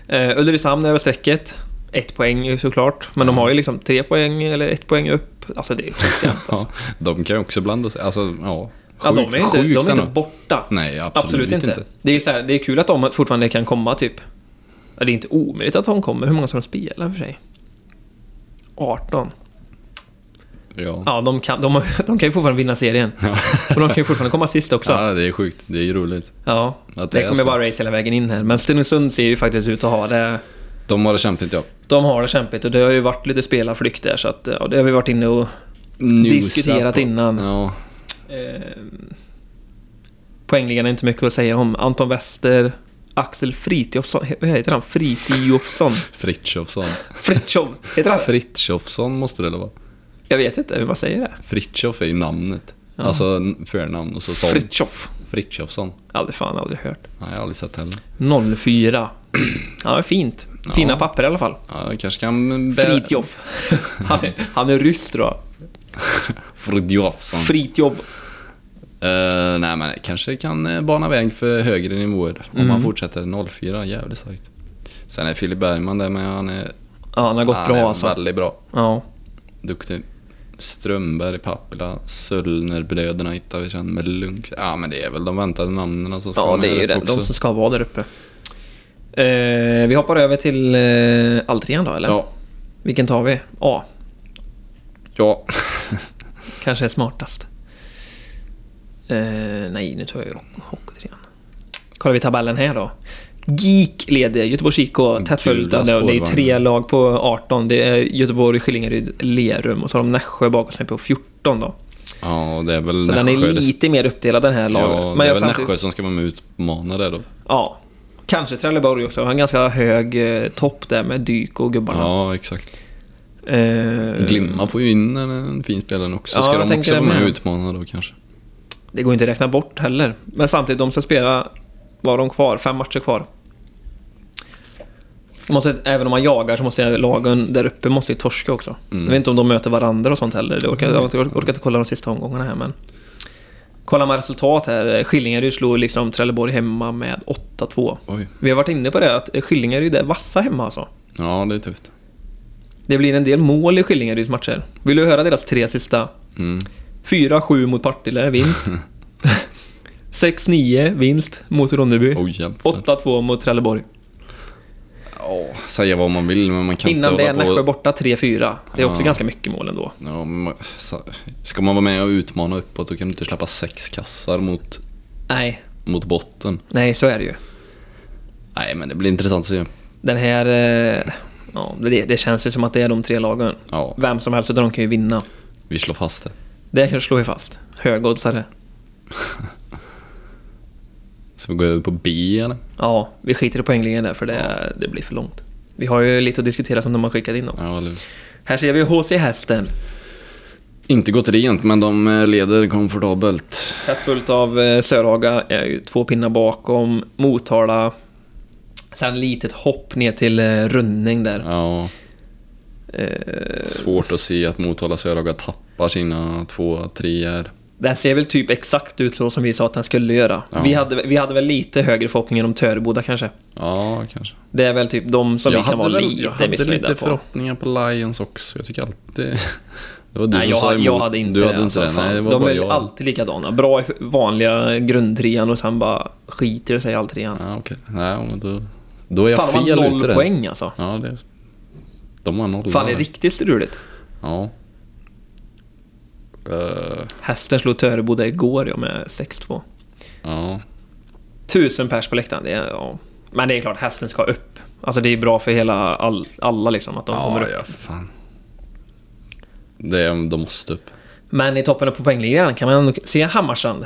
[SPEAKER 1] Eh, Ulricehamn över strecket. Ett poäng ju såklart. Men de har ju liksom tre poäng eller ett poäng upp. Alltså det är ju sjukt jämnt alltså.
[SPEAKER 2] ja, de kan ju också blanda sig. Alltså, ja.
[SPEAKER 1] Ja, de är inte, de
[SPEAKER 2] sjukt
[SPEAKER 1] är inte
[SPEAKER 2] ändå.
[SPEAKER 1] borta.
[SPEAKER 2] Nej, absolut,
[SPEAKER 1] Absolut, inte. Det, är så här, det är kul att de fortfarande kan komma typ. Ja, Det är inte omöjligt att de kommer. Hur många ska de spela för sig? 18.
[SPEAKER 2] Mm. Ja.
[SPEAKER 1] Ja, de kan, de, har- de kan ju fortfarande vinna serien. Och de kan ju fortfarande komma sist också. Ja,
[SPEAKER 2] ja, det är sjukt. Det är ju roligt.
[SPEAKER 1] det,
[SPEAKER 2] Att det är
[SPEAKER 1] kommer
[SPEAKER 2] så.
[SPEAKER 1] bara race hela vägen in här. Men Stenungsund ser ju faktiskt ut att ha det.
[SPEAKER 2] De har det kämpigt ja.
[SPEAKER 1] De har det kämpigt och det har ju varit lite spelarflykt där så att, ja, det har vi varit inne och diskuterat
[SPEAKER 2] Newsat.
[SPEAKER 1] innan.
[SPEAKER 2] Ja,
[SPEAKER 1] Ehm, Poängligan är inte mycket att säga om. Anton Wester, Axel Fritjofsson, he- vad heter han? Fritjofsson?
[SPEAKER 2] Fritjofsson.
[SPEAKER 1] Fritjof, heter han?
[SPEAKER 2] Fritjofsson måste det väl vara?
[SPEAKER 1] Jag vet inte hur man säger det.
[SPEAKER 2] Fritjof är ju namnet. Alltså n- förnamn och så son.
[SPEAKER 1] Fritjof.
[SPEAKER 2] Fritjofsson.
[SPEAKER 1] Aldrig fan, aldrig hört.
[SPEAKER 2] Nej, jag har aldrig sett heller.
[SPEAKER 1] 04. Ja, fint. Fina papper i alla fall.
[SPEAKER 2] Ja, jag kanske kan... bära-
[SPEAKER 1] Fritjof. Han är, han är ryss då.
[SPEAKER 2] Fritjofsson.
[SPEAKER 1] Fritjof.
[SPEAKER 2] Eh, nej, men kanske kan eh, bana väg för högre nivåer om
[SPEAKER 1] Mm.
[SPEAKER 2] han fortsätter 04. Jävligt starkt. Sen är Filip Bergman där, men han är,
[SPEAKER 1] Ja, han har gått
[SPEAKER 2] han är
[SPEAKER 1] bra alltså.
[SPEAKER 2] väldigt bra.
[SPEAKER 1] Ja.
[SPEAKER 2] Duktig. Strömberg, Pappila, Söllnerbröderna hittar vi sen med Lunk. Ja, men det är väl de väntade namnen som ska
[SPEAKER 1] Ja,
[SPEAKER 2] vara
[SPEAKER 1] det är ju
[SPEAKER 2] där
[SPEAKER 1] det.
[SPEAKER 2] uppe
[SPEAKER 1] De
[SPEAKER 2] också.
[SPEAKER 1] som ska vara där uppe. Eh, vi hoppar över till eh, Alltrean då, eller?
[SPEAKER 2] Ja,
[SPEAKER 1] Vilken tar vi? A.
[SPEAKER 2] ja.
[SPEAKER 1] Kanske är smartast. Eh, nej, nu tar jag ju ho- Hockeytrean. Kollar vi tabellen här då. GIK leder Göteborgs IK tätt följt
[SPEAKER 2] Gula
[SPEAKER 1] av det. och Det är ju tre
[SPEAKER 2] spårvagnar.
[SPEAKER 1] lag på 18. Det är Göteborg, Skillingaryd, Lerum och så har de Nässjö bakom sig på 14 då.
[SPEAKER 2] ja, det är väl
[SPEAKER 1] Så den är
[SPEAKER 2] det-
[SPEAKER 1] lite mer uppdelad den här lagen.
[SPEAKER 2] Ja, det är
[SPEAKER 1] jag
[SPEAKER 2] väl
[SPEAKER 1] samtidigt-
[SPEAKER 2] Nässjö som ska vara med och utmana det då.
[SPEAKER 1] Ja. Kanske Trelleborg också. Har en ganska hög eh, topp där med Dyk och gubbarna.
[SPEAKER 2] Ja, exakt.
[SPEAKER 1] Eh,
[SPEAKER 2] Glimma får ju in en, en fin spelare också.
[SPEAKER 1] Ja,
[SPEAKER 2] ska
[SPEAKER 1] jag
[SPEAKER 2] de
[SPEAKER 1] tänker
[SPEAKER 2] också vara
[SPEAKER 1] det
[SPEAKER 2] med och
[SPEAKER 1] med.
[SPEAKER 2] utmana då kanske?
[SPEAKER 1] Det går inte att räkna bort heller. Men samtidigt, de ska spela... Var de kvar? Fem matcher kvar. De Måste, även om man jagar så måste ju lagen där uppe måste ju torska också. Jag vet inte om de möter varandra och sånt heller. Det orkar, jag orkar, orkar inte kolla de sista omgångarna här men... Kollar man resultat här. Skillingaryd slog liksom Trelleborg hemma med 8-2.
[SPEAKER 2] Oj.
[SPEAKER 1] Vi har varit inne på det att Skillingaryd är vassa hemma alltså.
[SPEAKER 2] Ja, det är tufft.
[SPEAKER 1] Det blir en del mål i Skillingaryds matcher. Vill du höra deras tre sista?
[SPEAKER 2] Mm.
[SPEAKER 1] 4-7 mot Partille, vinst. 6-9, vinst mot Ronneby.
[SPEAKER 2] Oj, jävlar.
[SPEAKER 1] 8-2 mot Trelleborg.
[SPEAKER 2] Ja, säga vad man vill, men man kan
[SPEAKER 1] Innan
[SPEAKER 2] inte
[SPEAKER 1] det,
[SPEAKER 2] hålla
[SPEAKER 1] Nässjö
[SPEAKER 2] på...
[SPEAKER 1] borta 3-4. Det är också
[SPEAKER 2] Ja.
[SPEAKER 1] ganska mycket mål ändå.
[SPEAKER 2] Ja, men man- sa- ska man vara med och utmana uppåt, då kan du inte släppa sex kassar mot,
[SPEAKER 1] Nej,
[SPEAKER 2] mot botten.
[SPEAKER 1] nej så är det ju.
[SPEAKER 2] Nej, men det blir intressant att se.
[SPEAKER 1] Den här... eh, Ja, det, det känns ju som att det är de tre lagen.
[SPEAKER 2] Ja,
[SPEAKER 1] Vem som helst utav dem kan ju vinna.
[SPEAKER 2] vi slår fast det.
[SPEAKER 1] Det kan slå fast. Högoddsare.
[SPEAKER 2] Ska vi gå över på B, eller?
[SPEAKER 1] Ja, vi skiter i poängligan där för det, det blir för långt. Vi har ju lite att diskutera som de har skickat in dem.
[SPEAKER 2] Ja, eller...
[SPEAKER 1] Här ser vi HC Hästen.
[SPEAKER 2] Inte gått rent, men de eh, leder komfortabelt.
[SPEAKER 1] Tätt fullt av eh, Sörhaga är ju två pinnar bakom. Motala. Sen litet hopp ner till eh, Rönning där.
[SPEAKER 2] Ja,
[SPEAKER 1] Eh,
[SPEAKER 2] svårt att se att Motala Sörhaga tappar sina två treor.
[SPEAKER 1] Den ser väl typ exakt ut så som vi sa att den skulle göra.
[SPEAKER 2] Ja.
[SPEAKER 1] Vi, hade, vi hade väl lite högre förhoppningar om Töreboda kanske.
[SPEAKER 2] Ja, kanske.
[SPEAKER 1] Det är väl typ de som vi kan vara
[SPEAKER 2] väl- jag
[SPEAKER 1] lite
[SPEAKER 2] hade
[SPEAKER 1] missnöjda
[SPEAKER 2] lite
[SPEAKER 1] på.
[SPEAKER 2] förhoppningar på Lions också. Jag tycker alltid... Det var du
[SPEAKER 1] Nej,
[SPEAKER 2] som
[SPEAKER 1] jag,
[SPEAKER 2] sa
[SPEAKER 1] jag,
[SPEAKER 2] emot.
[SPEAKER 1] hade inte
[SPEAKER 2] du
[SPEAKER 1] det.
[SPEAKER 2] hade
[SPEAKER 1] alltså,
[SPEAKER 2] inte det.
[SPEAKER 1] fan.
[SPEAKER 2] Nej, det var
[SPEAKER 1] de
[SPEAKER 2] bara
[SPEAKER 1] är
[SPEAKER 2] jag.
[SPEAKER 1] alltid likadana. Bra i vanliga grundtrean och sen bara skiter det sig i alltrean.
[SPEAKER 2] Ja, okej. Nej, men då, då är jag
[SPEAKER 1] Fan, de
[SPEAKER 2] fel
[SPEAKER 1] har
[SPEAKER 2] ute
[SPEAKER 1] noll
[SPEAKER 2] där.
[SPEAKER 1] poäng alltså.
[SPEAKER 2] Ja, det... De har noll.
[SPEAKER 1] Fan, det är
[SPEAKER 2] där.
[SPEAKER 1] riktigt struligt.
[SPEAKER 2] Ja. Eh,
[SPEAKER 1] Hästen slog Töreboda igår ja, med 6-2.
[SPEAKER 2] ja.
[SPEAKER 1] Tusen pers på läktaren. Det är, ja. Men det är klart, hästen ska upp. Alltså det är bra för hela, all, alla liksom att de kommer
[SPEAKER 2] Ja,
[SPEAKER 1] upp.
[SPEAKER 2] ja, för fan. Det är, de måste upp.
[SPEAKER 1] Men i toppen på poängligan kan man nog se Hammarstrand.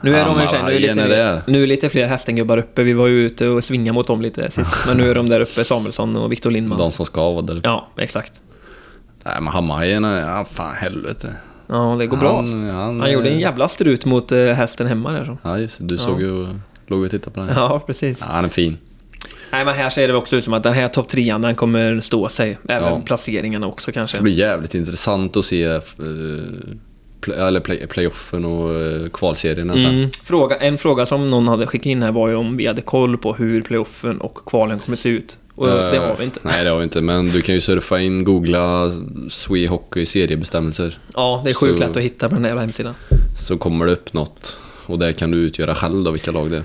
[SPEAKER 1] Nu är, de i och för sig- nu, är
[SPEAKER 2] Hammarhajen
[SPEAKER 1] lite,
[SPEAKER 2] är
[SPEAKER 1] mer-
[SPEAKER 2] där.
[SPEAKER 1] nu är lite fler hästengubbar uppe. Vi var ju ute och svingade mot dem lite sist. Men nu är de där uppe, Samuelsson och Viktor Lindman.
[SPEAKER 2] De som ska vara där.
[SPEAKER 1] Ja, exakt.
[SPEAKER 2] Nej, men Hammarhajarna, ja fan helvete.
[SPEAKER 1] Ja, det går bra alltså.
[SPEAKER 2] han,
[SPEAKER 1] Han gjorde en jävla strut mot eh, hästen hemma där. Så.
[SPEAKER 2] Ja, just det. Du såg ju... Låg och tittade på den. Ja.
[SPEAKER 1] Ja, precis.
[SPEAKER 2] han är fin.
[SPEAKER 1] Nej, men här ser det också ut som att den här topp trean, den kommer stå sig. Även
[SPEAKER 2] Ja.
[SPEAKER 1] placeringarna också
[SPEAKER 2] Det
[SPEAKER 1] kanske.
[SPEAKER 2] blir jävligt intressant att se eh, pl- eller play- playoffen och eh, kvalserierna sen.
[SPEAKER 1] Mm. Fråga, en fråga som någon hade skickat in här var ju om vi hade koll på hur playoffen och kvalen kommer se ut. Och det
[SPEAKER 2] Eh,
[SPEAKER 1] har vi inte.
[SPEAKER 2] Nej, det har vi inte. Men du kan ju surfa in, googla Swee Hockey seriebestämmelser.
[SPEAKER 1] Ja, det är sjukt
[SPEAKER 2] Så-
[SPEAKER 1] lätt att hitta på den där jävla hemsidan.
[SPEAKER 2] Så kommer det upp något. Och där kan du utgöra själv då vilka lag det är.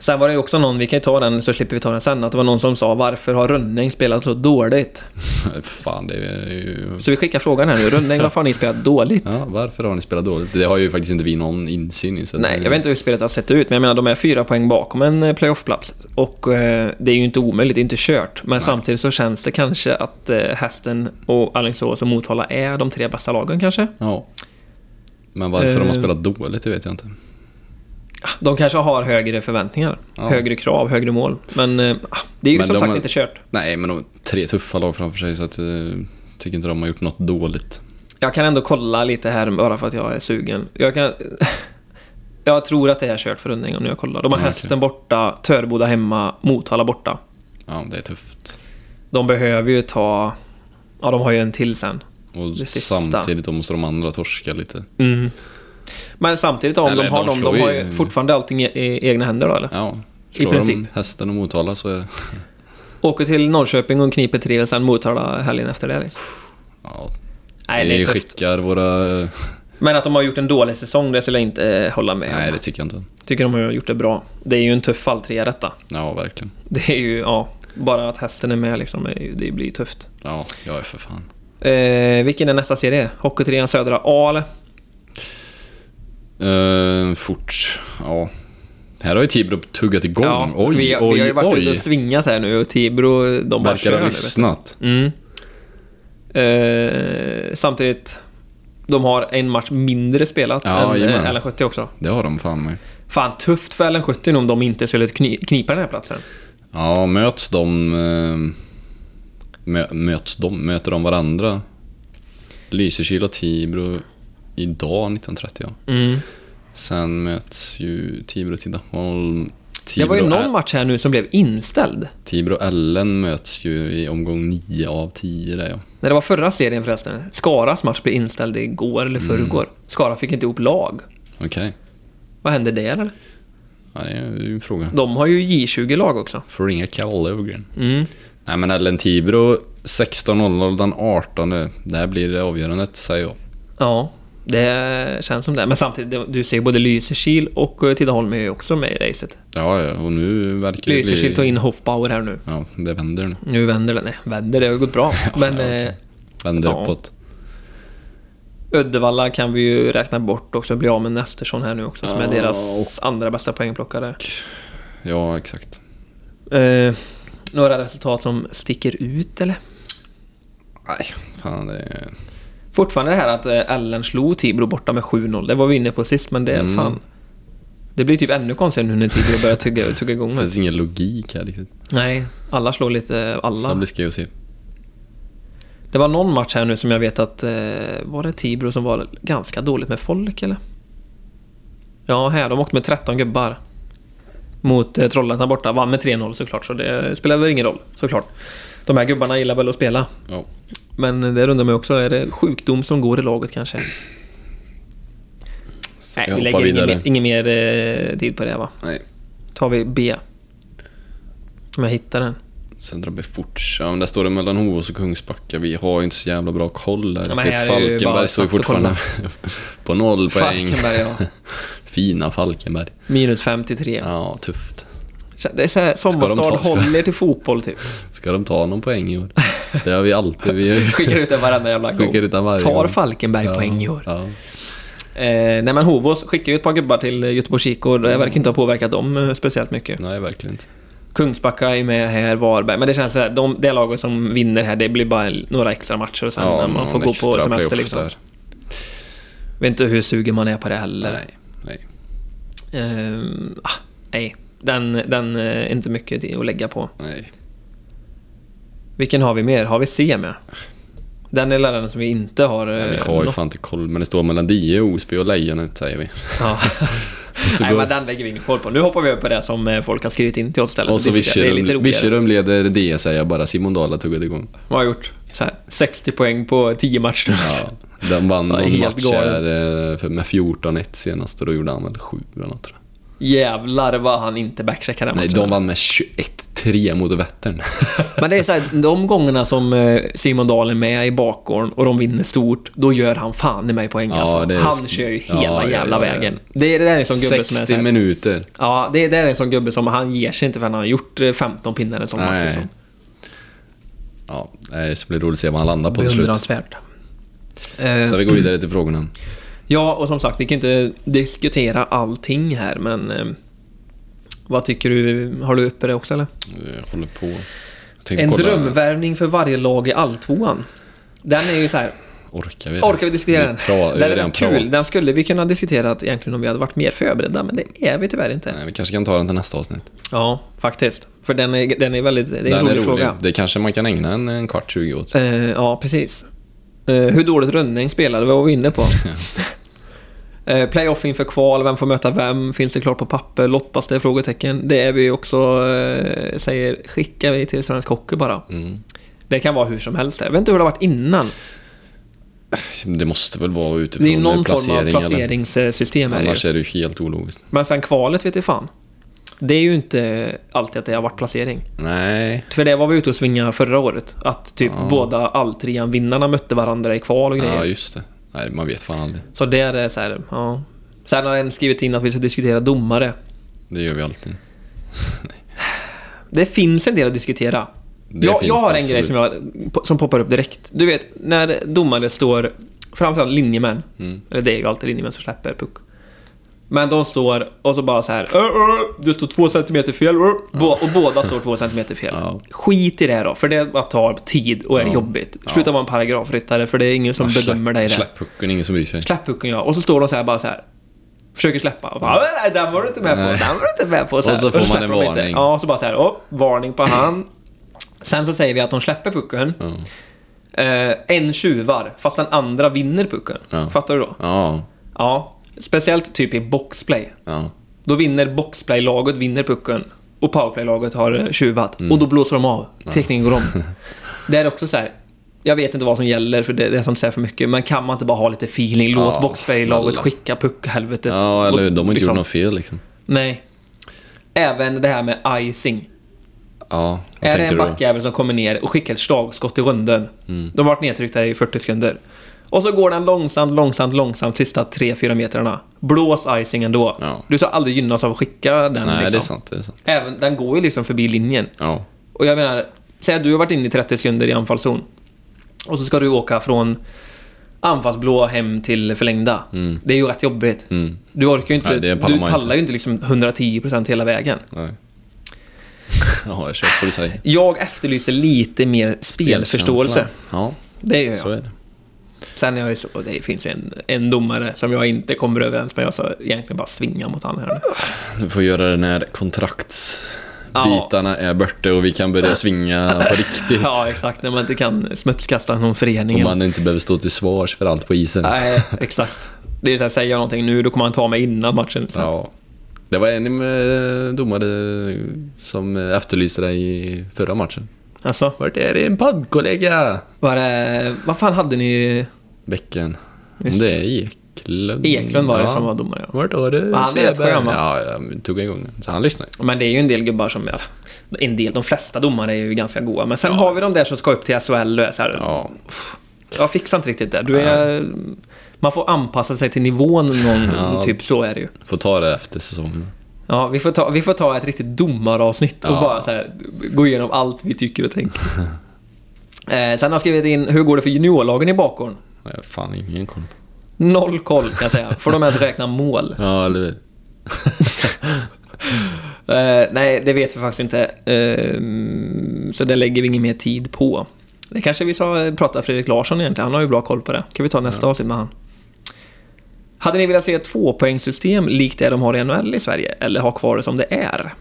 [SPEAKER 1] Sen var det ju också någon, vi kan ju ta den så slipper vi ta den sen, att det var någon som sa varför har Rönning spelat så dåligt?
[SPEAKER 2] Mm. fan, det är ju...
[SPEAKER 1] Så vi skickar frågan här nu, Rönning varför har ni spelat dåligt?
[SPEAKER 2] Ja, varför har ni spelat dåligt? Det har ju faktiskt inte vi någon insyn i. Så
[SPEAKER 1] Nej,
[SPEAKER 2] det...
[SPEAKER 1] jag vet inte hur spelet har sett ut, men jag menar de är fyra poäng bakom en eh, playoffplats. Och eh, det är ju inte omöjligt, det är inte kört. Men samtidigt så känns det kanske att eh, Hästen och Alingsås och Motala är de tre bästa lagen kanske.
[SPEAKER 2] Ja. Men varför de har
[SPEAKER 1] Eh.
[SPEAKER 2] spelat dåligt, det vet jag inte.
[SPEAKER 1] De kanske har högre förväntningar,
[SPEAKER 2] Ja.
[SPEAKER 1] högre krav, högre mål. Men eh, ah, det är ju
[SPEAKER 2] Men
[SPEAKER 1] som
[SPEAKER 2] de
[SPEAKER 1] sagt
[SPEAKER 2] har-
[SPEAKER 1] inte kört.
[SPEAKER 2] Nej, men de har tre tuffa lag framför sig så att... Eh, tycker inte de har gjort något dåligt.
[SPEAKER 1] Jag kan ändå kolla lite här bara för att jag är sugen. Jag kan... Jag tror att det är kört för Rönning om jag kollar. De har
[SPEAKER 2] Ja, okej.
[SPEAKER 1] Hästen borta, Töreboda hemma, Motala borta.
[SPEAKER 2] Ja, det är tufft.
[SPEAKER 1] De behöver ju ta... Ja, de har ju en till sen.
[SPEAKER 2] Och
[SPEAKER 1] Det sista.
[SPEAKER 2] samtidigt då måste de andra torska lite.
[SPEAKER 1] Men samtidigt om
[SPEAKER 2] Eller,
[SPEAKER 1] de har
[SPEAKER 2] de
[SPEAKER 1] dem,
[SPEAKER 2] slår
[SPEAKER 1] de har
[SPEAKER 2] ju-
[SPEAKER 1] ju fortfarande allting i, i egna händer då eller?
[SPEAKER 2] Ja. Slår
[SPEAKER 1] princip.
[SPEAKER 2] de hästen och Motala så är det...
[SPEAKER 1] Åker till Norrköping och kniper tre och sen Motala helgen efter det liksom.
[SPEAKER 2] Ja,
[SPEAKER 1] Nej, det är
[SPEAKER 2] vi
[SPEAKER 1] tufft.
[SPEAKER 2] skickar våra...
[SPEAKER 1] Men att de har gjort en dålig säsong, det skulle jag inte eh, hålla med
[SPEAKER 2] Nej,
[SPEAKER 1] om.
[SPEAKER 2] det tycker jag inte.
[SPEAKER 1] Tycker de har gjort det bra. Det är ju en tuff alltrea detta.
[SPEAKER 2] Ja, verkligen.
[SPEAKER 1] Det är ju, ja, bara att hästen är med liksom, är ju- det blir ju tufft.
[SPEAKER 2] Ja, jag är för fan.
[SPEAKER 1] Eh, vilken är nästa serie? Hockeytrean Södra A eller?
[SPEAKER 2] Eh, fort. Ja. Här har ju Tibro tuggat igång. oj,
[SPEAKER 1] vi, har-
[SPEAKER 2] oj,
[SPEAKER 1] vi har ju varit ute
[SPEAKER 2] oj.
[SPEAKER 1] och svingat här nu och Tibro, de bara
[SPEAKER 2] Verkar
[SPEAKER 1] kör
[SPEAKER 2] ha
[SPEAKER 1] nu. vet du.
[SPEAKER 2] lyssnat.
[SPEAKER 1] Mm. Eh, samtidigt, de har en match mindre spelat
[SPEAKER 2] Ja,
[SPEAKER 1] än
[SPEAKER 2] jajamän.
[SPEAKER 1] eh, LN70 också.
[SPEAKER 2] Det har de fan med.
[SPEAKER 1] Fan, tufft för LN70 nu om de inte skulle kni- knipa den här platsen.
[SPEAKER 2] Ja, möts de... eh, Mö, möts de? Möter de varandra? Lysekil och Tibro idag 19.30 ja. Sen möts ju Tibro och Tidaholm.
[SPEAKER 1] Det var ju
[SPEAKER 2] Tibro-
[SPEAKER 1] någon match här nu som blev inställd.
[SPEAKER 2] Tibro och Ellen möts ju i omgång 9 av 10 där ja.
[SPEAKER 1] Nej, det var förra serien förresten. Skaras match blev inställd igår eller
[SPEAKER 2] Mm.
[SPEAKER 1] förrgår. Skara fick inte ihop lag.
[SPEAKER 2] Okej.
[SPEAKER 1] Vad hände där eller?
[SPEAKER 2] Ja, det är ju en fråga.
[SPEAKER 1] De har ju J20-lag också.
[SPEAKER 2] Får ringa Kalle Ögren.
[SPEAKER 1] Mm.
[SPEAKER 2] Nej men Ellen Tibro 16.00 den 18. Där blir det avgörandet, säger jag.
[SPEAKER 1] Ja, det känns som det. Men samtidigt, det- du ser ju både Lysekil och eh, Tidaholm är ju också med i racet.
[SPEAKER 2] Ja, ja, och nu verkar det
[SPEAKER 1] Lysekil tar
[SPEAKER 2] bli...
[SPEAKER 1] in Hofbauer här nu.
[SPEAKER 2] Ja, det vänder nu.
[SPEAKER 1] Nu vänder det. Nej, vänder, det har ju gått bra. Men
[SPEAKER 2] ja,
[SPEAKER 1] eh,
[SPEAKER 2] också. Vänder
[SPEAKER 1] ja.
[SPEAKER 2] uppåt.
[SPEAKER 1] Uddevalla kan vi ju räkna bort också. Bli av med Nestersson här nu också, som är
[SPEAKER 2] Ja,
[SPEAKER 1] deras andra bästa poängplockare.
[SPEAKER 2] Ja, exakt.
[SPEAKER 1] Eh, några resultat som sticker ut, eller?
[SPEAKER 2] Nej, fan det är...
[SPEAKER 1] Fortfarande det här att eh, Ellen slog Tibro borta med 7-0. Det var vi inne på sist, men det är
[SPEAKER 2] Mm.
[SPEAKER 1] fan... Det blir typ ännu konstigare nu när Tibro börjar tugga, tugga igång
[SPEAKER 2] Det
[SPEAKER 1] nu.
[SPEAKER 2] finns ingen logik här riktigt.
[SPEAKER 1] Nej, alla slår lite
[SPEAKER 2] Så det
[SPEAKER 1] alla.
[SPEAKER 2] blir skoj att se.
[SPEAKER 1] Det var någon match här nu som jag vet att... Eh, var det Tibro som var ganska dåligt med folk, eller? Ja, här. De åkte med 13 gubbar. Mot eh, Trollhättan borta. Vann med 3-0 såklart, så det spelar väl ingen roll, såklart. De här gubbarna gillar väl att spela.
[SPEAKER 2] Ja.
[SPEAKER 1] Men det undrar man ju också, är det sjukdom som går i laget kanske?
[SPEAKER 2] Så
[SPEAKER 1] Nej,
[SPEAKER 2] jag
[SPEAKER 1] vi
[SPEAKER 2] hoppar
[SPEAKER 1] lägger ingen
[SPEAKER 2] vidare.
[SPEAKER 1] mer, ingen mer eh, tid på det va?
[SPEAKER 2] Nej,
[SPEAKER 1] Tar vi B. Om jag hittar den.
[SPEAKER 2] Södra Befors. Ja, men där står det mellan Hovås och Kungsbacka. Vi har ju inte så jävla bra koll där
[SPEAKER 1] Ja, men
[SPEAKER 2] riktigt.
[SPEAKER 1] här är ju bara
[SPEAKER 2] Falkenberg står ju
[SPEAKER 1] snabbt att kolla.
[SPEAKER 2] fortfarande på noll poäng.
[SPEAKER 1] Falkenberg ja.
[SPEAKER 2] Fina Falkenberg.
[SPEAKER 1] Minus 53.
[SPEAKER 2] Ja, tufft.
[SPEAKER 1] Det är såhär, sommarstad,
[SPEAKER 2] ta- ska-
[SPEAKER 1] håll er till fotboll typ.
[SPEAKER 2] Ska de ta någon poäng i år? Det har vi alltid. Vi
[SPEAKER 1] Skickar ut den varenda jävla gång.
[SPEAKER 2] skickar ut den varje
[SPEAKER 1] Tar
[SPEAKER 2] gång.
[SPEAKER 1] Falkenberg poäng i år.
[SPEAKER 2] Ja.
[SPEAKER 1] Eh, nej men Hovås skickar ju ett par gubbar till eh, Göteborgs IK och
[SPEAKER 2] Mm.
[SPEAKER 1] det verkar inte ha påverkat dem eh, speciellt mycket.
[SPEAKER 2] Nej, verkligen inte.
[SPEAKER 1] Kungsbacka är med här, Varberg. Men det känns såhär, de, det laget som vinner här, det blir bara några extra matcher och sen när man
[SPEAKER 2] någon
[SPEAKER 1] får gå på
[SPEAKER 2] extra
[SPEAKER 1] semester
[SPEAKER 2] playoff
[SPEAKER 1] liksom.
[SPEAKER 2] där.
[SPEAKER 1] Vet inte hur sugen man är på det heller.
[SPEAKER 2] Nej, nej.
[SPEAKER 1] Ehm, ah, nej, den, den eh, är inte mycket att lägga på.
[SPEAKER 2] nej.
[SPEAKER 1] Vilken har vi mer? Har vi C med? Den är läraren som vi inte har...
[SPEAKER 2] Nej, vi
[SPEAKER 1] eh,
[SPEAKER 2] har ju
[SPEAKER 1] något-
[SPEAKER 2] fan inte koll, men det står mellan Die, Osby och Lejonet säger vi.
[SPEAKER 1] Ja.
[SPEAKER 2] Så
[SPEAKER 1] Nej,
[SPEAKER 2] går-
[SPEAKER 1] men den lägger vi ingen koll på. Nu hoppar vi över på det som eh, folk har skrivit in till oss istället.
[SPEAKER 2] Och så
[SPEAKER 1] Det tycker jag- det är lite
[SPEAKER 2] Virserum
[SPEAKER 1] roligare.
[SPEAKER 2] Virserum leder det säger jag bara. Simon Dahl har tuggat igång.
[SPEAKER 1] Vad har jag gjort? Så här, 60 poäng på 10 matcher.
[SPEAKER 2] Ja, den vann
[SPEAKER 1] Ja,
[SPEAKER 2] någon
[SPEAKER 1] helt
[SPEAKER 2] match
[SPEAKER 1] galen.
[SPEAKER 2] här eh, för- med 14-1 senast och då gjorde han väl 7 eller något tror jag.
[SPEAKER 1] Jävlar vad han inte backcheckar den
[SPEAKER 2] Nej,
[SPEAKER 1] matchen.
[SPEAKER 2] de vann med 21-3 mot Vättern.
[SPEAKER 1] Men det är så här, de gångerna som eh, Simon Dahl är med i bakgården och de vinner stort, då gör han fan i mig poäng
[SPEAKER 2] Ja,
[SPEAKER 1] alltså.
[SPEAKER 2] det är-
[SPEAKER 1] Han kör ju hela
[SPEAKER 2] Ja, ja,
[SPEAKER 1] jävla
[SPEAKER 2] ja, ja.
[SPEAKER 1] vägen. Det är det där är en sån gubbe som är
[SPEAKER 2] 60
[SPEAKER 1] så här,
[SPEAKER 2] minuter.
[SPEAKER 1] Ja, det är, det är en sån gubbe som han ger sig inte förrän han har gjort eh, 15 pinnar i en sån match.
[SPEAKER 2] Nej.
[SPEAKER 1] Liksom.
[SPEAKER 2] Ja, nej, så blir det roligt att se vad han landar på till slut.
[SPEAKER 1] Beundransvärt. Eh,
[SPEAKER 2] Så vi går vidare till frågorna.
[SPEAKER 1] ja, och som sagt, vi kan inte diskutera allting här, men... Eh, vad tycker du? Har du uppe det också, eller?
[SPEAKER 2] Eh, Jag håller på. Jag tänkte
[SPEAKER 1] En
[SPEAKER 2] kolla-
[SPEAKER 1] drömvärvning för varje lag i alltvåan. Den är ju så här...
[SPEAKER 2] Orkar vi?
[SPEAKER 1] Orkar vi diskutera den?
[SPEAKER 2] pra- vi
[SPEAKER 1] den
[SPEAKER 2] har
[SPEAKER 1] är
[SPEAKER 2] redan
[SPEAKER 1] rätt kul.
[SPEAKER 2] pratat.
[SPEAKER 1] Den skulle vi kunna diskutera att egentligen om vi hade varit mer förberedda, men det är vi tyvärr inte.
[SPEAKER 2] Nej, vi kanske kan ta den till nästa avsnitt.
[SPEAKER 1] Ja, faktiskt. För den är, den är väldigt... Det är en
[SPEAKER 2] Den
[SPEAKER 1] rolig, fråga.
[SPEAKER 2] Det kanske man kan ägna en, en kvart, 20 åt.
[SPEAKER 1] Eh, ja, precis. Eh, hur dåligt Rönning spelade var vi inne på. Eh, Playoff inför kval, vem får möta vem? Finns det klart på papper? Lottas det? Frågetecken. Det är vi också, eh, säger, skickar vi till Svensk Hockey bara.
[SPEAKER 2] Mm.
[SPEAKER 1] Det kan vara hur som helst. Jag vet inte hur det har varit innan.
[SPEAKER 2] Det måste väl vara utifrån
[SPEAKER 1] Det är någon
[SPEAKER 2] placering,
[SPEAKER 1] form av
[SPEAKER 2] Eller?
[SPEAKER 1] placeringssystem här ju.
[SPEAKER 2] Annars är det ju helt ologiskt.
[SPEAKER 1] Men sen kvalet vet jag fan. Det är ju inte alltid att det har varit placering.
[SPEAKER 2] Nej,
[SPEAKER 1] För det var vi ute och svingade förra året. Att typ
[SPEAKER 2] Ja.
[SPEAKER 1] båda alltrean-vinnarna mötte varandra i kval och grejer.
[SPEAKER 2] ja just det. Nej, man vet fan aldrig.
[SPEAKER 1] Så där är så här, ja. Sen har en skrivit in att vi ska diskutera domare.
[SPEAKER 2] Det gör vi alltid.
[SPEAKER 1] Det finns en del att diskutera.
[SPEAKER 2] Det
[SPEAKER 1] jag,
[SPEAKER 2] finns
[SPEAKER 1] jag
[SPEAKER 2] det
[SPEAKER 1] har en
[SPEAKER 2] absolut.
[SPEAKER 1] grej som, jag, som poppar upp direkt. Du vet, när domare står, framförallt linjemän,
[SPEAKER 2] Mm.
[SPEAKER 1] eller det är ju alltid linjemän som släpper puck. Men de står och så bara så här. "Ö, ö, Du står två centimeter fel. ö." Bå- Och båda står två centimeter fel.
[SPEAKER 2] Ja.
[SPEAKER 1] Skit i det då, för det bara tar tid och är
[SPEAKER 2] Ja.
[SPEAKER 1] jobbigt. Sluta vara en paragrafryttare, för det är ingen som
[SPEAKER 2] Ja,
[SPEAKER 1] bedömer dig där.
[SPEAKER 2] Släpp pucken, ingen som bryr sig.
[SPEAKER 1] Släpp pucken ja. Och så står de så här bara så här. Försöker släppa. Och bara, "Åh, nej, den var du inte med på.
[SPEAKER 2] Nej.
[SPEAKER 1] Den var du inte med på.
[SPEAKER 2] Och så
[SPEAKER 1] här.
[SPEAKER 2] får man
[SPEAKER 1] släpper
[SPEAKER 2] en
[SPEAKER 1] de inte.
[SPEAKER 2] varning.
[SPEAKER 1] Ja, så bara så här. "Åh, varning på han. Sen så säger vi att de släpper pucken.
[SPEAKER 2] Ja.
[SPEAKER 1] Eh, en tjuvar, fast den andra vinner pucken.
[SPEAKER 2] Ja.
[SPEAKER 1] Fattar du då?
[SPEAKER 2] Ja,
[SPEAKER 1] Ja. Speciellt typ i boxplay.
[SPEAKER 2] ja.
[SPEAKER 1] Då vinner boxplay-laget vinner pucken och powerplay-laget har eh, tjuvat.
[SPEAKER 2] Mm.
[SPEAKER 1] Och då blåser de av. Teckningen går om. det är också så här. Jag vet inte vad som gäller, för det, det är som säger för mycket. Men kan man inte bara ha lite feeling? Låt
[SPEAKER 2] Ja,
[SPEAKER 1] boxplay-laget
[SPEAKER 2] snälla.
[SPEAKER 1] skicka puckhelvetet.
[SPEAKER 2] ja eller hur? De har inte
[SPEAKER 1] Liksom.
[SPEAKER 2] gjort något fel liksom.
[SPEAKER 1] Nej. Även det här med icing.
[SPEAKER 2] Ja, vad
[SPEAKER 1] Är det
[SPEAKER 2] tänker
[SPEAKER 1] en
[SPEAKER 2] du då? Mm.
[SPEAKER 1] backjävel som kommer ner och skickar ett slagskott i runden De har varit nedtryckta i 40 sekunder. Och så går den långsamt, långsamt, långsamt sista 3-4 metrarna. Blås icing ändå.
[SPEAKER 2] Ja.
[SPEAKER 1] Du ska aldrig gynnas av att skicka den
[SPEAKER 2] Nej,
[SPEAKER 1] liksom.
[SPEAKER 2] det är sant. Det är sant.
[SPEAKER 1] Även, den går ju liksom förbi linjen.
[SPEAKER 2] Ja.
[SPEAKER 1] Och jag menar, säg att du har varit inne i 30 sekunder i anfallszon. Och så ska du åka från anfallsblå hem till förlängda. Det är ju rätt jobbigt.
[SPEAKER 2] Mm.
[SPEAKER 1] Du orkar ju inte,
[SPEAKER 2] Nej, det pallar
[SPEAKER 1] du
[SPEAKER 2] man ju
[SPEAKER 1] pallar
[SPEAKER 2] inte.
[SPEAKER 1] ju inte liksom 110% hela vägen.
[SPEAKER 2] Nej. ja, jag köper vad du säger.
[SPEAKER 1] Jag efterlyser lite mer spelförståelse.
[SPEAKER 2] Ja,
[SPEAKER 1] Det gör
[SPEAKER 2] så
[SPEAKER 1] jag.
[SPEAKER 2] är det.
[SPEAKER 1] Sen är jag ju så, och det finns ju en, en domare som jag inte kommer överens med. Jag ska egentligen bara svinga mot han här nu.
[SPEAKER 2] Du får göra det när kontraktsbitarna är borta och vi kan börja svinga på riktigt.
[SPEAKER 1] Ja, exakt. När man inte kan smutskasta någon
[SPEAKER 2] Och
[SPEAKER 1] förening.
[SPEAKER 2] man inte behöver stå till svars för allt på isen.
[SPEAKER 1] Nej, exakt. Det är så här, säger jag någonting nu, då kommer han ta mig innan matchen. Så.
[SPEAKER 2] Ja. Det var en eh, domare som efterlyste dig i förra matchen.
[SPEAKER 1] Alltså,
[SPEAKER 2] Vart är din poddkollega?
[SPEAKER 1] var det, vad fan hade ni?
[SPEAKER 2] Bäcken.
[SPEAKER 1] Just
[SPEAKER 2] Det är Eklund.
[SPEAKER 1] Eklund var det
[SPEAKER 2] Ja.
[SPEAKER 1] som var domare. Ja.
[SPEAKER 2] Vart var du?
[SPEAKER 1] Ja, han är rätt
[SPEAKER 2] Sveberg?
[SPEAKER 1] skön, va?
[SPEAKER 2] Ja, jag tog igång den. Så han lyssnade.
[SPEAKER 1] Men det är ju en del gubbar som, ja, en del, de flesta domare är ju ganska goa. Men sen har vi de där som ska upp till SHL och är så här,
[SPEAKER 2] Ja.
[SPEAKER 1] jag fixar inte riktigt det. Du är, man får anpassa sig till nivån någon,
[SPEAKER 2] Ja.
[SPEAKER 1] typ så är det ju.
[SPEAKER 2] Får ta det efter säsongen.
[SPEAKER 1] Ja, vi får ta, vi får ta ett riktigt domaravsnitt och
[SPEAKER 2] Ja.
[SPEAKER 1] bara så här, gå igenom allt vi tycker och tänker. eh, sen har jag skrivit in, hur går det för juniorlagen i bakgården?
[SPEAKER 2] Jag har fan ingen koll.
[SPEAKER 1] Noll koll kan jag säga, får de ens räkna mål?
[SPEAKER 2] Ja, eller hur?
[SPEAKER 1] Eh, nej, det vet vi faktiskt inte. Ehm, så det lägger vi ingen mer tid på. Det kanske vi ska prata Fredrik Larsson egentligen. Han har ju bra koll på det. kan vi ta nästa avsnitt med han. Hade ni velat se ett tvåpoängssystem likt det de har i NHL i Sverige? Eller ha kvar det som det är?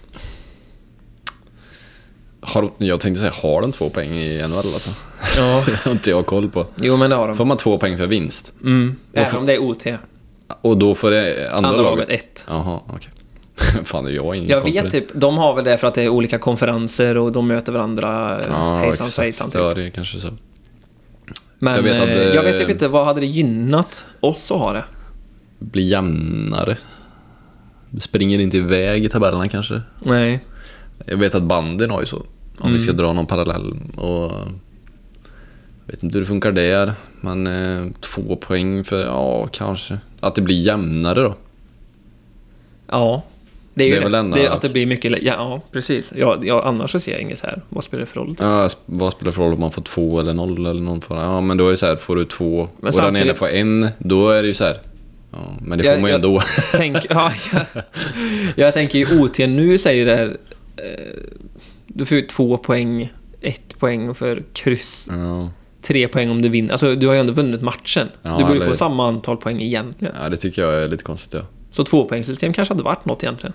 [SPEAKER 2] Har de, jag tänkte säga, har de två poäng i NHL alltså?
[SPEAKER 1] Ja.
[SPEAKER 2] Det har inte jag koll på.
[SPEAKER 1] Jo, men det har de.
[SPEAKER 2] Får man två poäng för vinst?
[SPEAKER 1] Mm. Även om det är OT.
[SPEAKER 2] Och då får det andra,
[SPEAKER 1] Andra laget
[SPEAKER 2] laget?
[SPEAKER 1] ett.
[SPEAKER 2] Jaha, okej. Fan, jag har ingen
[SPEAKER 1] Jag
[SPEAKER 2] koll på det.
[SPEAKER 1] vet typ, de har väl det för att det är olika konferenser och de möter varandra.
[SPEAKER 2] Ja,
[SPEAKER 1] Ja, hejsan
[SPEAKER 2] exakt.
[SPEAKER 1] svejsan. Typ.
[SPEAKER 2] Ja, det är kanske så.
[SPEAKER 1] Men jag
[SPEAKER 2] Jag vet
[SPEAKER 1] vet,
[SPEAKER 2] att, eh,
[SPEAKER 1] jag vet typ inte, vad hade det gynnat oss att ha det?
[SPEAKER 2] Bli jämnare. Springer inte iväg i tabellerna kanske.
[SPEAKER 1] Nej.
[SPEAKER 2] Jag vet att banden har ju så. Om vi
[SPEAKER 1] Mm.
[SPEAKER 2] ska dra någon parallell. Och jag vet inte hur det funkar där. Men eh, två poäng för, ja kanske. Att det blir jämnare då.
[SPEAKER 1] Ja. Det är ju
[SPEAKER 2] Det är
[SPEAKER 1] det.
[SPEAKER 2] väl enda-
[SPEAKER 1] det är att det blir mycket... lä- Ja, ja precis. Ja, ja, annars så ser jag inget så här. Vad spelar det för roll?
[SPEAKER 2] Ja, sp- vad spelar det för roll om man får två eller noll eller någon får, Ja men då är det så här, får du två och
[SPEAKER 1] samtidigt-
[SPEAKER 2] den ena får en, då är det ju så här. Ja, men det får
[SPEAKER 1] Jag-
[SPEAKER 2] man ju
[SPEAKER 1] jag-
[SPEAKER 2] ändå.
[SPEAKER 1] Tänk, ja, jag, jag tänker ju OT nu säger det här... Eh, du får ju två poäng, ett poäng för kryss,
[SPEAKER 2] Ja,
[SPEAKER 1] tre poäng om du vinner. Alltså, du har ju ändå vunnit matchen.
[SPEAKER 2] Ja,
[SPEAKER 1] du borde
[SPEAKER 2] eller-
[SPEAKER 1] få samma antal poäng egentligen.
[SPEAKER 2] ja, det tycker jag är lite konstigt ja.
[SPEAKER 1] Så tvåpoängssystem kanske hade varit något egentligen.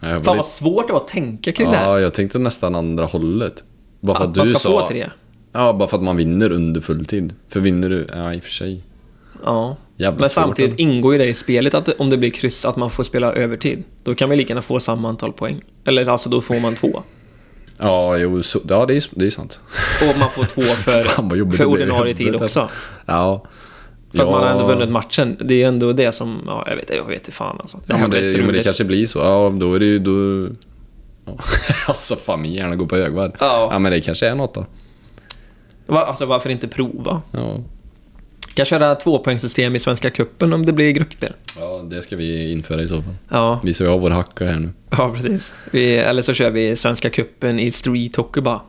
[SPEAKER 2] Ja, jag var
[SPEAKER 1] Fan
[SPEAKER 2] lite-
[SPEAKER 1] vad svårt det var att tänka kring det här.
[SPEAKER 2] Ja, jag tänkte nästan andra hållet. Bara för att,
[SPEAKER 1] Att man
[SPEAKER 2] du
[SPEAKER 1] ska
[SPEAKER 2] sa...
[SPEAKER 1] få tre.
[SPEAKER 2] Ja, bara för att man vinner under fulltid. För vinner du... Ja, i och för sig.
[SPEAKER 1] Ja.
[SPEAKER 2] Jävla
[SPEAKER 1] Men
[SPEAKER 2] svårt,
[SPEAKER 1] samtidigt
[SPEAKER 2] alltså.
[SPEAKER 1] ingår ju det i spelet att om det blir kryss att man får spela övertid. Då kan vi lika gärna få samma antal poäng. Eller alltså då får man två.
[SPEAKER 2] Ja, jo, så, ja det, är, det är sant.
[SPEAKER 1] Och man får två
[SPEAKER 2] Fan, vad
[SPEAKER 1] för,
[SPEAKER 2] jobbigt
[SPEAKER 1] för
[SPEAKER 2] det blir i
[SPEAKER 1] ordinarie tid
[SPEAKER 2] huvudet.
[SPEAKER 1] också.
[SPEAKER 2] Ja.
[SPEAKER 1] För att man har ändå
[SPEAKER 2] Ja.
[SPEAKER 1] vunnit matchen. Det är ju ändå det som... Ja, jag vet jag vet inte fan alltså.
[SPEAKER 2] Ja, men
[SPEAKER 1] här blir
[SPEAKER 2] det, jo, men det
[SPEAKER 1] struligt.
[SPEAKER 2] kanske blir så. Ja, då är det ju... Då... Ja. alltså, fan min hjärna går på högvarv.
[SPEAKER 1] Ja.
[SPEAKER 2] ja, men det kanske är något då.
[SPEAKER 1] Va, alltså varför inte prova?
[SPEAKER 2] Ja.
[SPEAKER 1] Kan köra tvåpoängssystem i Svenska Cupen om det blir gruppspel.
[SPEAKER 2] ja, det ska vi införa i så fall.
[SPEAKER 1] Ja,
[SPEAKER 2] Vi ska ju ha vår hacka här nu.
[SPEAKER 1] ja precis. Vi, eller så kör vi Svenska Cupen i street hockey bara.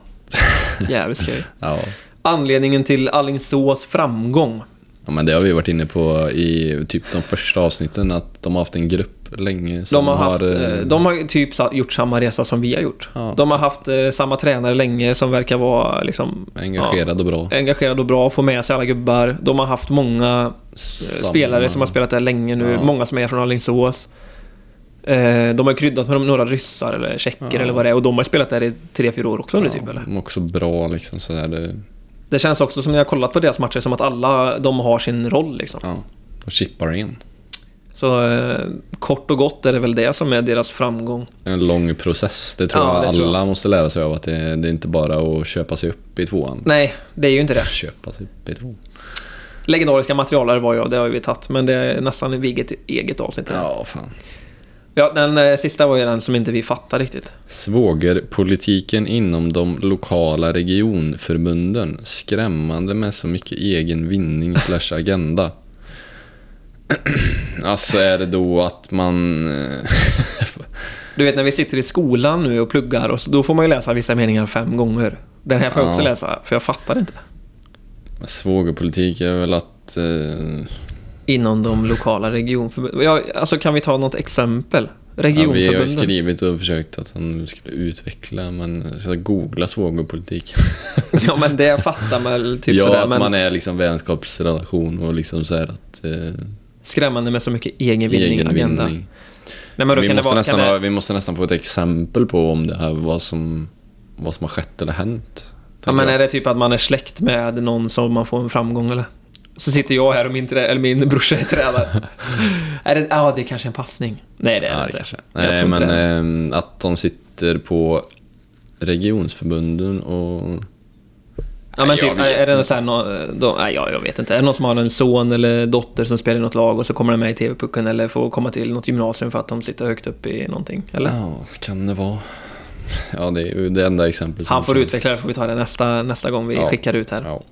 [SPEAKER 1] Jävligt skoj.
[SPEAKER 2] Ja.
[SPEAKER 1] Anledningen till Alingsås framgång.
[SPEAKER 2] ja, men det har vi varit inne på i typ de första avsnitten. Att de har haft en grupp länge som
[SPEAKER 1] De har, haft, eh,
[SPEAKER 2] eh,
[SPEAKER 1] de har ju typ sa- gjort samma resa som vi har gjort.
[SPEAKER 2] Ja.
[SPEAKER 1] De har haft eh, samma tränare länge som verkar vara liksom,
[SPEAKER 2] engagerad och bra.
[SPEAKER 1] ja, engagerad och bra, få med sig alla gubbar. De har haft många eh,
[SPEAKER 2] Samma.
[SPEAKER 1] spelare som har spelat där länge nu,
[SPEAKER 2] Ja.
[SPEAKER 1] många som är från Alingsås. Eh, de har kryddat med några ryssar eller tjecker eller vad det är och de har spelat där i 3-4 år också nu typ eller?
[SPEAKER 2] de är också bra liksom sådär. Det,
[SPEAKER 1] Det känns också som när jag kollat på deras matcher som att alla de har sin roll liksom.
[SPEAKER 2] ja, de chippar in.
[SPEAKER 1] Så eh, kort och gott är det väl det som är deras framgång.
[SPEAKER 2] En lång process. Det tror
[SPEAKER 1] Ja,
[SPEAKER 2] jag
[SPEAKER 1] det
[SPEAKER 2] alla
[SPEAKER 1] tror
[SPEAKER 2] måste lära sig av. Att det, det är inte bara att köpa sig upp i tvåan.
[SPEAKER 1] Nej, det är ju inte det.
[SPEAKER 2] Köpa sig upp i tvåan.
[SPEAKER 1] Legendariska materialare var jag, det har vi tagit. Men det är nästan ett eget, eget avsnitt.
[SPEAKER 2] Ja, fan.
[SPEAKER 1] Ja, den eh, sista var ju den som inte vi fattar riktigt.
[SPEAKER 2] Svågerpolitiken inom de lokala regionförbunden. Skrämmande med så mycket egen vinning slash agenda. alltså är det då att man... eh,
[SPEAKER 1] Du vet när vi sitter i skolan nu och pluggar, och så, då får man ju läsa vissa meningar fem gånger. Den här får jag också
[SPEAKER 2] Ja.
[SPEAKER 1] läsa, för jag fattar inte.
[SPEAKER 2] Svågerpolitik är väl att... Eh,
[SPEAKER 1] Inom de lokala regionförbunden. Ja, alltså kan vi ta något exempel?
[SPEAKER 2] ja, vi har ju
[SPEAKER 1] Regionförbunden.
[SPEAKER 2] skrivit och försökt att han skulle utveckla, men jag ska googla svågerpolitik.
[SPEAKER 1] Ja, men det fattar man väl typ
[SPEAKER 2] ja,
[SPEAKER 1] sådär.
[SPEAKER 2] att
[SPEAKER 1] Men
[SPEAKER 2] man är liksom vänskapsrelation och liksom så här att... Eh,
[SPEAKER 1] skrämmande med så mycket egen vinning,
[SPEAKER 2] egen
[SPEAKER 1] agenda.
[SPEAKER 2] vinning.
[SPEAKER 1] Nej, men då
[SPEAKER 2] vi,
[SPEAKER 1] kan det
[SPEAKER 2] måste
[SPEAKER 1] vara... Kan
[SPEAKER 2] nästan ha,
[SPEAKER 1] det,
[SPEAKER 2] vi måste nästan få ett exempel på om det här, vad som, vad som har skett eller hänt.
[SPEAKER 1] ja, men är det typ att man är släkt med någon som man får en framgång eller? Så sitter jag här och min, trä, eller min brorsa är tränare. är det, ja, det är kanske en passning. Nej, det är
[SPEAKER 2] ja,
[SPEAKER 1] det
[SPEAKER 2] det
[SPEAKER 1] inte.
[SPEAKER 2] kanske.
[SPEAKER 1] Jag tror
[SPEAKER 2] Nej,
[SPEAKER 1] inte
[SPEAKER 2] men
[SPEAKER 1] det.
[SPEAKER 2] ehm, att de sitter på regionsförbunden och...
[SPEAKER 1] Ja men
[SPEAKER 2] Nej,
[SPEAKER 1] typ,
[SPEAKER 2] jag vet
[SPEAKER 1] är det någon sån här, någon, då, nej jag, jag vet inte. Är det någon som har en son eller dotter som spelar i något lag och så kommer de med i TV-pucken eller får komma till något gymnasium för att de sitter högt upp i någonting? Eller?
[SPEAKER 2] Ja, kan det vara? Ja, det är ju det enda exemplet som
[SPEAKER 1] Han får
[SPEAKER 2] känns-
[SPEAKER 1] utveckla det, får vi ta det nästa, nästa gång vi
[SPEAKER 2] Ja.
[SPEAKER 1] skickar ut här.
[SPEAKER 2] Ja.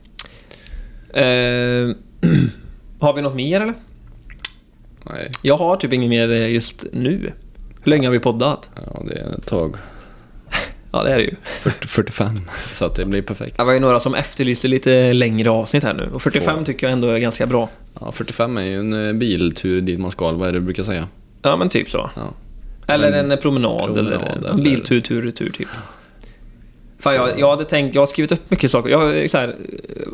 [SPEAKER 1] Eh, har vi något mer eller?
[SPEAKER 2] Nej,
[SPEAKER 1] Jag har typ inget mer eh, just nu. Hur länge har vi poddat?
[SPEAKER 2] ja, det är ett tag.
[SPEAKER 1] Ja det är det ju.
[SPEAKER 2] 40, 45. Så att det blir perfekt.
[SPEAKER 1] Det var ju några som efterlyste lite längre avsnitt här nu och 45
[SPEAKER 2] Får.
[SPEAKER 1] tycker jag ändå är ganska bra.
[SPEAKER 2] Ja, 45 är ju en eh, biltur dit man ska, vad är det du brukar säga?
[SPEAKER 1] Ja men typ så.
[SPEAKER 2] Ja.
[SPEAKER 1] Eller en eh, promenad,
[SPEAKER 2] promenad
[SPEAKER 1] eller
[SPEAKER 2] eller-
[SPEAKER 1] en biltur, tur, retur typ. Fan,
[SPEAKER 2] Så-
[SPEAKER 1] jag, jag hade tänkt, jag har skrivit upp mycket saker. Jag, så här, eh,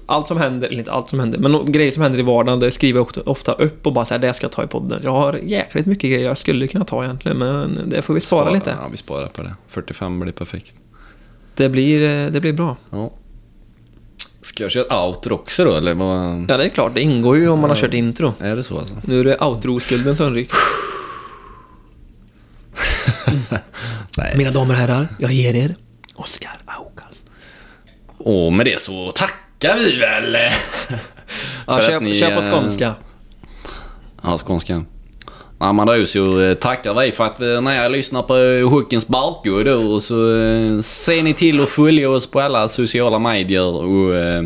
[SPEAKER 1] allt som händer, eller inte allt som händer, men no- grejer som händer i vardagen det skriver jag ofta- ofta upp och bara så här, det ska jag ta i podden. Jag har jäkligt mycket grejer jag skulle kunna ta egentligen, men det får vi spara lite.
[SPEAKER 2] Ja, vi sparar på det. 45 blir perfekt.
[SPEAKER 1] Det blir, eh, det blir bra.
[SPEAKER 2] Ja. Ska jag köra ett outro också då, eller vad?
[SPEAKER 1] Ja, det är klart, det ingår ju om man har kört intro.
[SPEAKER 2] Är det så alltså?
[SPEAKER 1] Nu är det outro-skulden som ryker.
[SPEAKER 2] Nej.
[SPEAKER 1] Mina damer och herrar, jag ger er Oscar Aukas.
[SPEAKER 2] Och med det så tackar vi väl!
[SPEAKER 1] Ja,
[SPEAKER 2] För att
[SPEAKER 1] kör,
[SPEAKER 2] ni,
[SPEAKER 1] kör på
[SPEAKER 2] eh,
[SPEAKER 1] skånska.
[SPEAKER 2] Ja, skånska. Ja, men då så eh, tackar vi för att eh, när jag lyssnar på eh, Hookens Barkod då, och så eh, ser ni till att följa oss på alla sociala medier och eh,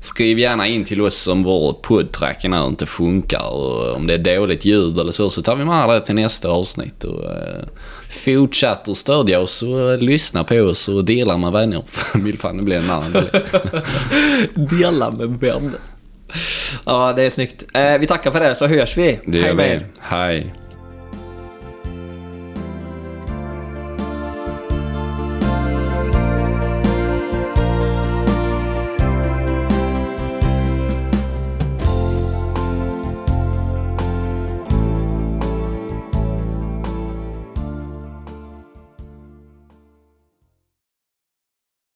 [SPEAKER 2] skriv gärna in till oss om vår poddtrack här inte funkar och om det är dåligt ljud eller så så tar vi med det till nästa avsnitt och eh, fortsätt att stödja oss och eh, lyssna på oss och dela med vänner. Vill fan det blir en annan del.
[SPEAKER 1] Dela med vänner. Ja, det är snyggt. Eh, vi Eh, tackar för det, så hörs vi.
[SPEAKER 2] Det gör
[SPEAKER 1] med
[SPEAKER 2] vi.
[SPEAKER 1] er.
[SPEAKER 2] Hej.